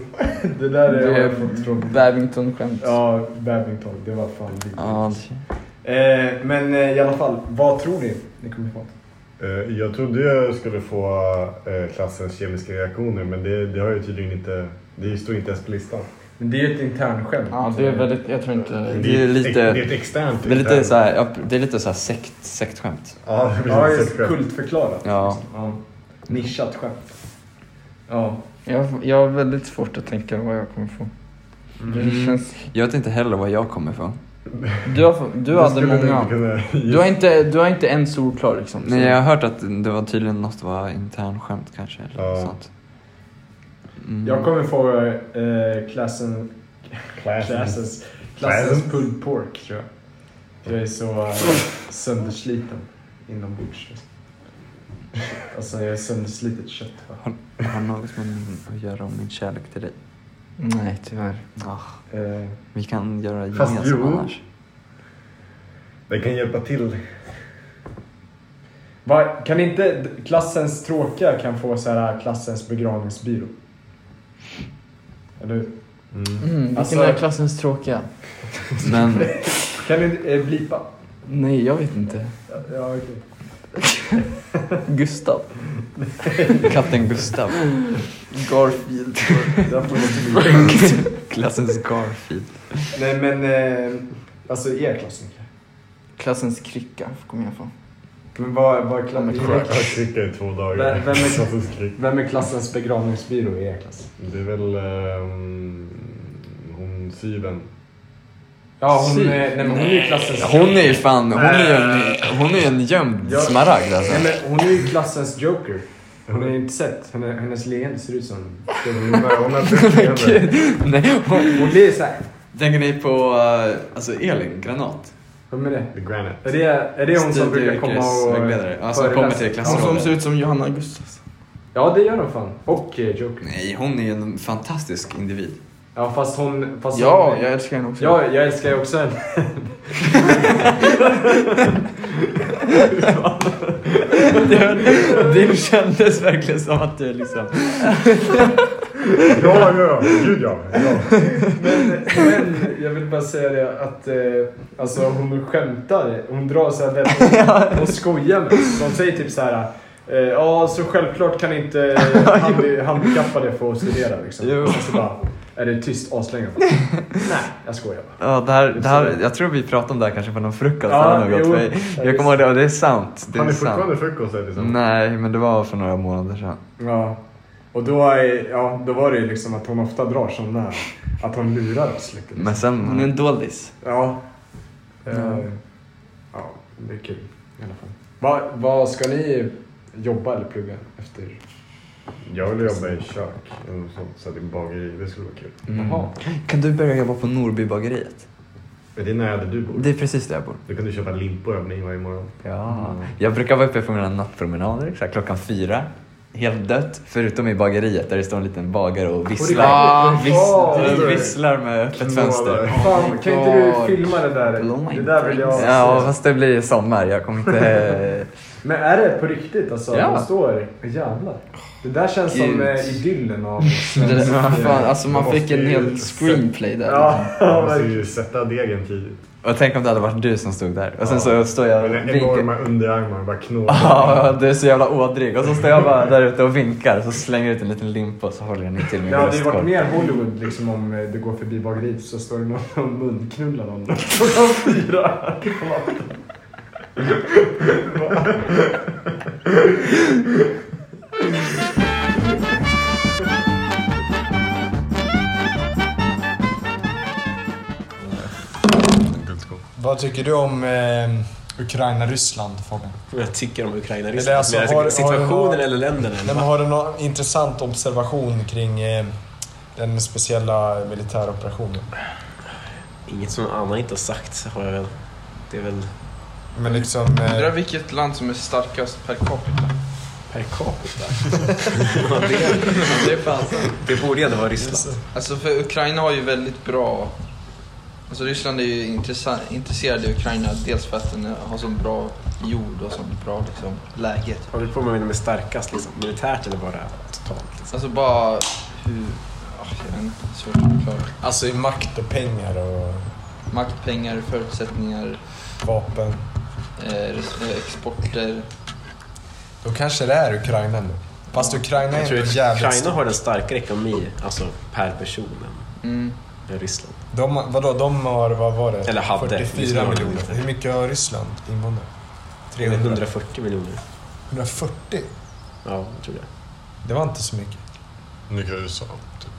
Speaker 4: Det där
Speaker 3: Det
Speaker 4: är...
Speaker 3: är
Speaker 4: Det är...
Speaker 3: Babington-skämt.
Speaker 4: Ja, badminton. Det var fan vidrigt.
Speaker 5: Ja,
Speaker 4: Eh, men eh, i alla fall, vad tror ni ni kommer få?
Speaker 1: Eh, Jag trodde jag skulle få eh, klassens kemiska reaktioner men det, det har ju tydligen inte... Det står inte ens på listan.
Speaker 4: Men det är ju ett internskämt.
Speaker 3: Ja, det är väldigt... Jag tror inte...
Speaker 5: Det är lite-
Speaker 1: Det är ett externt.
Speaker 5: det är lite så här, ja, det är lite så här sekt, sektskämt.
Speaker 1: Ja, det
Speaker 4: Ja,
Speaker 1: blir
Speaker 4: det
Speaker 1: lite
Speaker 4: är
Speaker 1: sexuellt.
Speaker 4: kultförklarat.
Speaker 5: Ja.
Speaker 4: liksom. ja. Nischat skämt. Ja.
Speaker 3: Jag, jag har väldigt svårt att tänka vad jag kommer få. Det
Speaker 4: Mm.
Speaker 3: känns...
Speaker 5: Mm. Jag vet inte heller vad jag kommer få.
Speaker 3: Du, har, du
Speaker 1: Det
Speaker 3: hade
Speaker 1: skulle
Speaker 3: många.
Speaker 1: inte kunna
Speaker 3: Du har inte, du har inte en stor klar liksom.
Speaker 5: Nej, jag har hört att det var tydligen något var internskämt kanske. Eller
Speaker 1: Ja.
Speaker 5: något sånt. Mm.
Speaker 4: Jag kommer få eh, klassen,
Speaker 1: Klassens.
Speaker 4: klassens, klassens
Speaker 1: Klassen.
Speaker 4: pulled pork tror jag. Jag är så eh, söndersliten inombords. liksom. Alltså jag är sönderslitet kött. va.
Speaker 5: Har något med min, att göra om min kärlek till dig.
Speaker 3: Nej, tyvärr.
Speaker 5: Ah,
Speaker 4: Eh,
Speaker 5: vi kan göra
Speaker 1: Fast
Speaker 5: gemensamt
Speaker 1: jo.
Speaker 5: annars.
Speaker 1: Det kan hjälpa till.
Speaker 4: Vad- Kan inte d- klassens tråkiga kan få så här eh, klassens begravningsbyrå? Eller hur?
Speaker 3: Mm, vilken
Speaker 4: Alltså-
Speaker 3: är klassens tråkiga?
Speaker 5: Men
Speaker 4: Kan vi eh, blipa?
Speaker 3: Nej, jag vet inte.
Speaker 4: Ja, ja, okej.
Speaker 3: Gustav.
Speaker 5: kapten Gustav.
Speaker 3: Garfield.
Speaker 4: Där får vi inte blipa.
Speaker 5: Klassens Garfield.
Speaker 4: Nej men, eh, alltså er klass Mikael.
Speaker 3: Klassens krycka kommer jag få.
Speaker 4: Men vad, vad är kla-
Speaker 3: Kommer
Speaker 4: i
Speaker 1: Jag
Speaker 4: er
Speaker 1: har
Speaker 3: tillbaka.
Speaker 4: klass?
Speaker 1: kryckat i två dagar.
Speaker 4: Mm. Vem- vem är-
Speaker 1: Så så skrik.
Speaker 4: Vem är klassens begravningsbyrå i er klass?
Speaker 1: Det är väl ehm, hon syven.
Speaker 4: Ja, hon,
Speaker 5: Sy.
Speaker 4: är, nej, men hon är ju klassens...
Speaker 5: Hon är ju fan, hon är ju en, hon är ju en gömd
Speaker 4: Jag-
Speaker 5: smaragd alltså.
Speaker 4: Nej, men hon är ju klassens joker. Hon har ju inte sett. Henne, hennes leende ser ut som...
Speaker 1: Hon har hon har inte skrivit det.
Speaker 5: Nej, hon,
Speaker 4: Hon blir såhär...
Speaker 5: tänker ni på eh, alltså Elin Granat?
Speaker 4: Vem är det?
Speaker 1: The Granite.
Speaker 4: Är det, är det hon som brukar komma och...
Speaker 5: Studieyrkesvägledare. Ja, som kommer till
Speaker 3: Hon som
Speaker 5: klassrummet.
Speaker 3: ser ut som Johanna Gustafsson.
Speaker 4: Ja, det gör hon fan. Och eh, joker.
Speaker 5: Nej, hon är en fantastisk individ.
Speaker 4: Ja, fast hon... Fast
Speaker 3: Ja,
Speaker 4: hon,
Speaker 3: jag älskar henne också.
Speaker 4: Ja, jag älskar ju också henne.
Speaker 3: det, det kändes verkligen som att du liksom...
Speaker 1: Ja, ja, gud ja. ja.
Speaker 4: Men, men jag vill bara säga det att eh, alltså, hon skämtar. Hon drar så här väldigt... Hon skojar med oss. Hon säger typ så här... eh, Ja, så självklart kan inte handi- handikappade få studera liksom.
Speaker 5: Jo.
Speaker 4: Och så bara, är det tyst aslänge. Nej, jag skojar bara.
Speaker 5: Ja, det här, det här, jag tror vi pratade om det här kanske på någon frukost eller något.
Speaker 4: jo.
Speaker 5: för Jag kommer ihåg det och det är sant. Det
Speaker 1: Har
Speaker 5: är
Speaker 1: ni
Speaker 5: sant.
Speaker 1: fortfarande frukost här liksom. tillsammans?
Speaker 5: Nej, men det var för några månader sedan.
Speaker 4: Ja. Och då, är, ja, då var det ju liksom att hon ofta drar sådana... Att hon lurar oss lite. Liksom.
Speaker 5: Men sen...
Speaker 3: Hon är en doldis.
Speaker 4: Ja.
Speaker 3: Ja.
Speaker 4: Eh, ja, det är kul i alla fall. Va- Vad ska ni jobba eller plugga efter?
Speaker 1: Jag vill jobba i kök. eller något sånt, Så att det är bageri. Det skulle vara kul.
Speaker 5: Mm.
Speaker 4: Jaha.
Speaker 5: Kan du börja jobba på Norbybageriet?
Speaker 1: Men det är nära där du bor.
Speaker 5: Det är precis där jag bor.
Speaker 1: Då kan du köpa limpor av mig varje morgon.
Speaker 5: Ja. Jag brukar vara uppe på mina nattpromenader så här, klockan fyra. Helt dött, förutom i bageriet där det står en liten bagare och visslar.
Speaker 3: Ja,
Speaker 4: visst.
Speaker 5: Den visslar med öppet fönster.
Speaker 4: Fan, kan inte
Speaker 3: God.
Speaker 4: du filma det där?
Speaker 3: Blow my
Speaker 4: Det där vill jag
Speaker 3: brains.
Speaker 5: Ja,
Speaker 4: se.
Speaker 5: fast det blir sommar. Jag kommer inte...
Speaker 4: Men är det på riktigt alltså?
Speaker 5: Ja.
Speaker 4: De står... Jävlar. Det där känns som
Speaker 5: Gud.
Speaker 4: eh, idyllen av
Speaker 3: Det
Speaker 4: svensk...
Speaker 3: där, fan, alltså man
Speaker 1: Man
Speaker 3: fick
Speaker 1: måste
Speaker 3: en
Speaker 1: ju
Speaker 3: hel
Speaker 1: se-
Speaker 3: screenplay där.
Speaker 4: Ja,
Speaker 1: Man måste
Speaker 4: verkligen.
Speaker 1: ju sätta degen tidigt.
Speaker 5: Och tänk om det hade varit du som stod där. Och sen
Speaker 1: Ja.
Speaker 5: så står jag och
Speaker 1: Eller
Speaker 5: vinkar.
Speaker 1: enorma underarmar bara knådar.
Speaker 5: Ja, du är så jävla ådrig. Och så står jag bara där ute och vinkar. Så slänger jag ut en liten limpa och så håller den till min
Speaker 4: Det hade ju varit
Speaker 5: bröstkorg.
Speaker 4: mer Hollywood liksom om eh, du går förbi bageriet så står det någon och munknullar någon. Vad tycker du om eh, Ukraina-Ryssland Fabian?
Speaker 6: Vad jag tycker om Ukraina
Speaker 4: Eller
Speaker 6: Ryssland.
Speaker 4: alltså,
Speaker 6: Men
Speaker 4: har- har-
Speaker 6: situationen
Speaker 4: har-
Speaker 6: eller länderna?
Speaker 4: Nej, men har du någon intressant observation kring eh, den speciella militäroperationen?
Speaker 6: Inget som någon annan inte har sagt har jag väl. Det är väl
Speaker 4: Men liksom... Eh,
Speaker 3: vilket land som är starkast per capita.
Speaker 6: per capita. det,
Speaker 3: Det är fan
Speaker 6: det borde ju ändå vara Ryssland.
Speaker 3: Alltså för Ukraina har ju väldigt bra... Alltså Ryssland är ju intressa- intresserad i Ukraina dels för att den har så bra jord och så bra liksom, läge. typ.
Speaker 6: Har du på med med starkast liksom? Militärt eller bara totalt? Liksom?
Speaker 3: Alltså bara hur... ah, Jag vet inte, svårt att förklara.
Speaker 4: alltså i makt och pengar och
Speaker 3: Makt, pengar, förutsättningar,
Speaker 4: vapen.
Speaker 3: eh, res- eh, exporter.
Speaker 4: Då kanske det är Ukraina nu. Fast Ukraina är
Speaker 6: Jag tror
Speaker 4: ändå Eh,
Speaker 6: att
Speaker 4: jävligt
Speaker 6: Ukraina
Speaker 4: stort.
Speaker 6: har en starkare ekonomi, alltså per person, än-
Speaker 3: Mm.
Speaker 6: än Ryssland.
Speaker 4: De, vadå, de har, vad var det?
Speaker 6: Eller hade.
Speaker 4: 44
Speaker 6: Lyssna på
Speaker 4: miljoner.
Speaker 6: det.
Speaker 4: Hur mycket har Ryssland invånare?
Speaker 6: Det är
Speaker 4: 300?
Speaker 6: 140 miljoner.
Speaker 4: 140?
Speaker 6: Ja, jag tror det.
Speaker 4: Det var inte så mycket.
Speaker 7: Mycket USA, typ.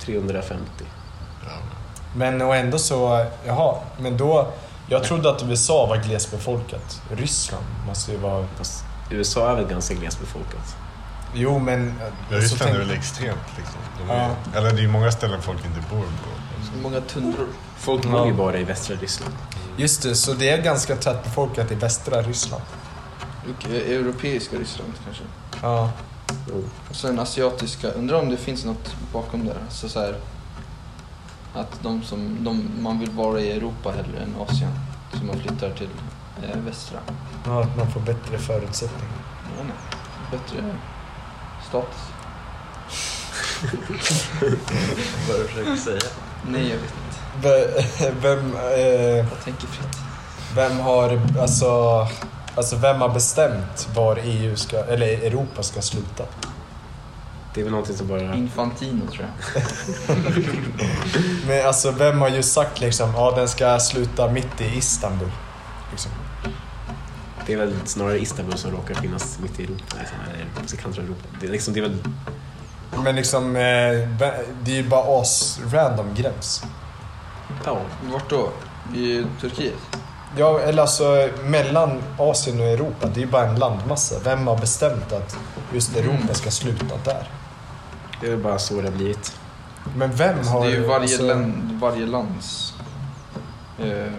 Speaker 6: 350.
Speaker 4: Men och ändå så, jaha, men då... Jag trodde att USA var glesbefolkat. Ryssland måste ju vara...
Speaker 6: Fast USA är väl ganska glesbefolkat?
Speaker 4: Jo, men... eh,
Speaker 7: Ja,
Speaker 4: så
Speaker 7: Ryssland
Speaker 4: tänk-
Speaker 7: är väl extremt liksom. De är,
Speaker 4: Ja.
Speaker 7: Eller det är ju många ställen folk inte bor på.
Speaker 3: Många tundror.
Speaker 6: Folk bor ju bara i västra Ryssland.
Speaker 4: Just det, så det är ganska tätbefolkat i västra Ryssland.
Speaker 3: Och, eh, Europeiska Ryssland kanske.
Speaker 4: Ja.
Speaker 3: Och sen asiatiska. Undrar om det finns något bakom det. Alltså så här, att de som, de, man vill vara i Europa hellre än Asien. Så man flyttar till eh, Västra.
Speaker 4: Ja, att man får bättre förutsättningar.
Speaker 3: Ja, nej. Bättre status.
Speaker 6: Vad du försöker säga.
Speaker 3: Nej, jag vet inte.
Speaker 4: Ve- Vem, eh,
Speaker 3: Jag tänker fritt.
Speaker 4: vem har, alltså, alltså vem har bestämt var EU ska, eller Europa ska sluta?
Speaker 6: Det är väl någonting som bara...
Speaker 3: Mm. Infantino tror jag.
Speaker 4: Men alltså vem har ju sagt liksom, ja den ska sluta mitt i Istanbul? Liksom.
Speaker 6: Det är väl snarare Istanbul som råkar finnas mitt i Europa. Liksom, eller på kanten av Europa. Det är, liksom, det är väl...
Speaker 4: Men liksom, eh, ve- det är ju bara as random gräns.
Speaker 6: Ja.
Speaker 3: Vart då? I Turkiet?
Speaker 4: Ja, eller alltså mellan Asien och Europa, det är ju bara en landmassa. Vem har bestämt att just
Speaker 3: Mm.
Speaker 4: Europa ska sluta där?
Speaker 6: Det är väl bara så det har blivit.
Speaker 4: Men vem
Speaker 3: Alltså,
Speaker 4: har...
Speaker 3: det är ju varje,
Speaker 4: alltså-
Speaker 3: land, varje lands... Eh,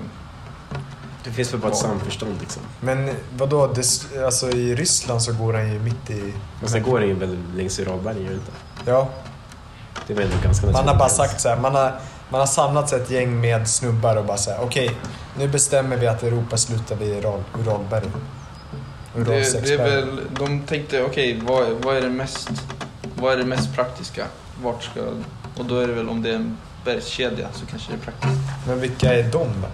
Speaker 6: Det finns väl bara ett
Speaker 3: Ja.
Speaker 6: samförstånd liksom.
Speaker 4: Men vadå, det, alltså i Ryssland så går den ju mitt i...
Speaker 6: Men sen går det ju väl längs Uralbergen, gör det inte?
Speaker 4: Ja,
Speaker 6: Det är väl ändå ganska naturligt.
Speaker 4: man har bara sagt så här, man har, man har samlats ett gäng med snubbar och bara så här, okej, nu bestämmer vi att Europa slutar vid Ural, Uralberg.
Speaker 3: det, det är
Speaker 4: Uralsexberg.
Speaker 3: väl, de tänkte, okej, vad, vad är det mest vad är det mest praktiska? Vart ska... Och då är det väl om det är en bergskedja så kanske det är praktiskt.
Speaker 4: Men vilka är de då?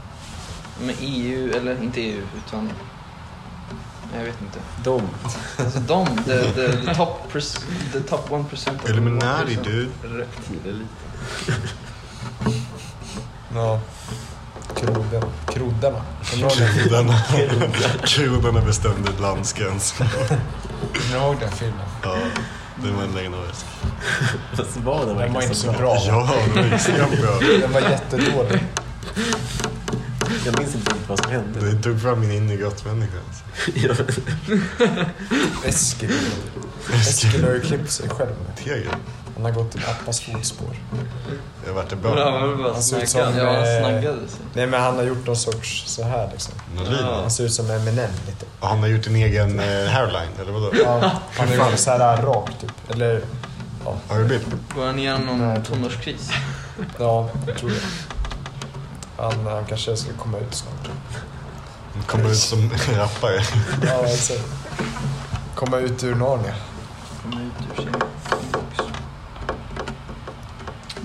Speaker 3: Men EU, eller inte EU, utan... Jag vet inte.
Speaker 6: De.
Speaker 3: Alltså de, the, the, the, top, pres, the top 1% of the
Speaker 1: Eliminati
Speaker 3: 1%.
Speaker 1: dude.
Speaker 6: Reptilelit.
Speaker 4: Ja. Kroden. Kroddarna. Kommer du ihåg den-
Speaker 1: Tjuvarna. Tjuvarna bestämde landsgräns.
Speaker 4: kommer du ihåg den filmen?
Speaker 1: Ja, det var en legendarisk.
Speaker 6: Fast var det
Speaker 4: Den var
Speaker 6: verkligen
Speaker 4: inte
Speaker 6: så
Speaker 4: så
Speaker 6: bra?
Speaker 4: bra.
Speaker 1: Ja, det var extremt bra.
Speaker 4: Den var jättedålig.
Speaker 6: Jag minns inte riktigt vad som hände.
Speaker 1: Det tog fram min inre grottmänniska. alltså.
Speaker 4: Eskil. Eskil har ju klippt sig själv.
Speaker 1: Tegel.
Speaker 4: Han har gått i pappas fotspår.
Speaker 1: Det vart det
Speaker 3: Ja,
Speaker 1: bra.
Speaker 3: men vad
Speaker 4: Han ser ut
Speaker 3: snackar han?
Speaker 4: som,
Speaker 3: Ja, han
Speaker 4: eh,
Speaker 3: snaggade sig.
Speaker 4: Nej men han har gjort någon sorts så här liksom.
Speaker 1: Nolin.
Speaker 4: Han ser ut som Eminem lite.
Speaker 1: Och Han har gjort en egen eh, hairline, eller vadå?
Speaker 4: Ja, han är ju så här rak typ. Eller
Speaker 1: Har du bild?
Speaker 3: Går han igenom
Speaker 4: Nej,
Speaker 3: någon
Speaker 4: jag tror inte.
Speaker 3: tonårskris?
Speaker 4: ja, jag tror det. Han, eh, han kanske ska komma ut snart.
Speaker 1: Kommer ut som rappare.
Speaker 4: Ja, exakt. Komma ut ur Narnia.
Speaker 3: Kommer ut ur sin inbox.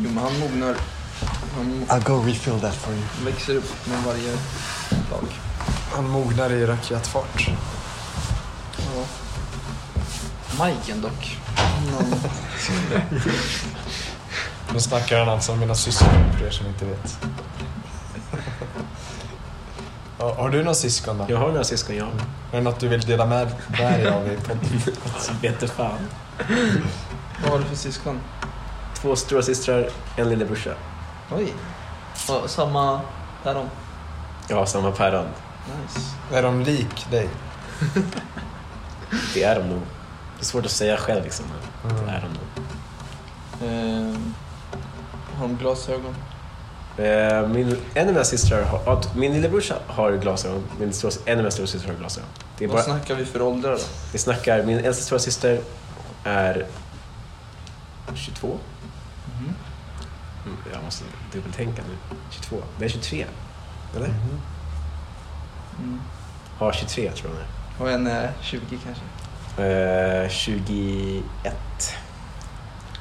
Speaker 3: Jo, men han mognar. Han
Speaker 4: I'll go refill that for you.
Speaker 3: växer upp med varje dag.
Speaker 4: Han mognar i raketfart.
Speaker 3: Ja. Majken dock. Någon...
Speaker 4: Nu snackar han alltså om mina syskon för er som inte vet. Ja, Har du några syskon då?
Speaker 6: Jag har några syskon jag.
Speaker 4: Är det något du vill dela med dig av i podden?
Speaker 6: Vete fan.
Speaker 3: Vad har du för syskon?
Speaker 6: Två stora systrar, en lillebrorsa.
Speaker 3: Oj. Ja, samma päron.
Speaker 6: Jag har samma päron.
Speaker 3: Nice.
Speaker 4: Är de lik dig?
Speaker 6: Det är de nog. Det är svårt att säga själv liksom. men Det är de nog.
Speaker 3: Ehm, har de glasögon?
Speaker 6: Eh, Min, en av mina systrar har, ja, min lillebrorsa har glasögon, min stora, en av mina storasystrar har glasögon. Det är
Speaker 3: Vad
Speaker 6: bara,
Speaker 3: snackar vi för åldrar då?
Speaker 6: vi snackar, min äldsta stora syster är 22.
Speaker 3: Mhm.
Speaker 6: Mm, Jag måste dubbeltänka nu. 22? Nej, 23. Eller?
Speaker 3: Mm.
Speaker 6: Har 23 tror jag hon är.
Speaker 3: Och en är 20 kanske.
Speaker 6: Eh, 21.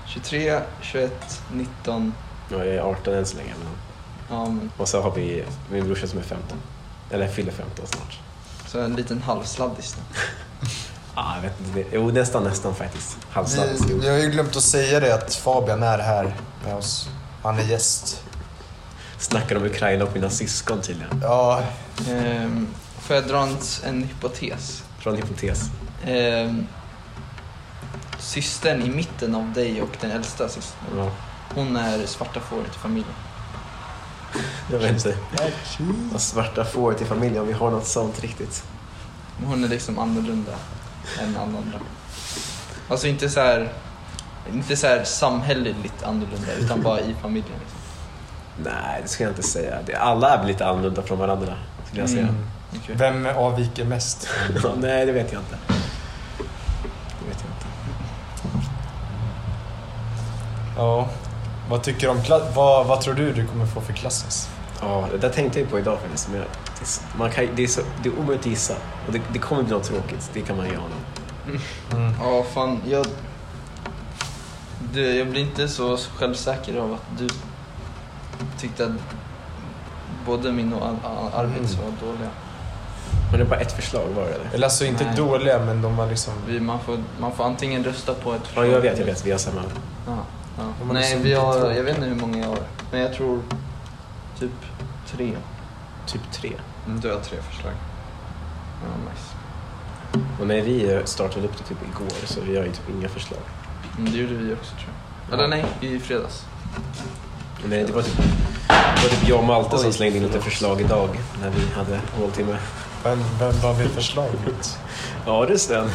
Speaker 3: 23, 21, 19.
Speaker 6: Jag är 18 än så länge. Men.
Speaker 3: Ja, men
Speaker 6: Och så har vi min brorsa som är 15. Eller fyller 15 snart.
Speaker 3: så en liten halvsladdis. då.
Speaker 6: Ah, jag vet inte. Det- Jo, nästan, nästan faktiskt. Halvstans.
Speaker 4: Vi, vi har ju glömt att säga det att Fabian är här med oss. Han är gäst.
Speaker 6: Snackar om Ukraina och mina syskon tydligen.
Speaker 4: Ja,
Speaker 3: Ehm, får jag dra en, en hypotes?
Speaker 6: Från hypotes.
Speaker 3: Ehm, systern i mitten av dig och den äldsta systern,
Speaker 6: Ja,
Speaker 3: hon är svarta fåret i familjen.
Speaker 6: jag vet inte. Och svarta fåret i familjen, om vi har något sånt riktigt.
Speaker 3: Men Hon är liksom annorlunda än alla andra. Alltså inte så här, inte så här samhälleligt annorlunda, utan bara i familjen. Liksom.
Speaker 6: Nej, det ska jag inte säga. Det, alla är väl lite annorlunda från varandra, skulle jag säga.
Speaker 3: Mm. Okej.
Speaker 4: vem avviker mest?
Speaker 6: Ja, Nej, det vet jag inte. Det vet jag inte.
Speaker 4: Ja. Vad tycker du om kla- vad, vad tror du du kommer få för klassens?
Speaker 6: Ja, det där tänkte jag på idag faktiskt. Men jag, det, är så- man kan, det, är så, det är omöjligt att gissa. Och det, det kommer bli något tråkigt, det kan man ju ana.
Speaker 4: Mm.
Speaker 3: Ja, fan. Jag... Du, jag blir inte så självsäker av att du tyckte att både min och Al- Al- Arvids var dåliga.
Speaker 6: Men det är bara ett förslag var det eller?
Speaker 8: Eller alltså inte
Speaker 3: Nej.
Speaker 8: dåliga, men de var liksom...
Speaker 3: Vi, man, får, man får antingen rösta på ett
Speaker 6: Ja, jag vet, jag vet. Vi har samma.
Speaker 3: Ja, ja.
Speaker 8: De har
Speaker 3: Nej,
Speaker 8: liksom
Speaker 3: vi
Speaker 8: inte
Speaker 3: har,
Speaker 8: tråkigt.
Speaker 3: jag vet inte hur många jag har. Men jag tror typ tre.
Speaker 6: Typ tre.
Speaker 3: Du har tre förslag. Ja, nice.
Speaker 6: Och när vi startade upp det typ igår så vi har ju typ inga förslag.
Speaker 3: Mm, det gjorde vi också tror jag. Eller nej, i fredags.
Speaker 6: Nej, det var typ, det var typ jag och Malte som
Speaker 3: Oj,
Speaker 6: slängde in lite
Speaker 3: förlåt.
Speaker 6: förslag idag när vi hade håltimme.
Speaker 8: Vem, vem var vi förslag mot?
Speaker 6: Ja du Sten.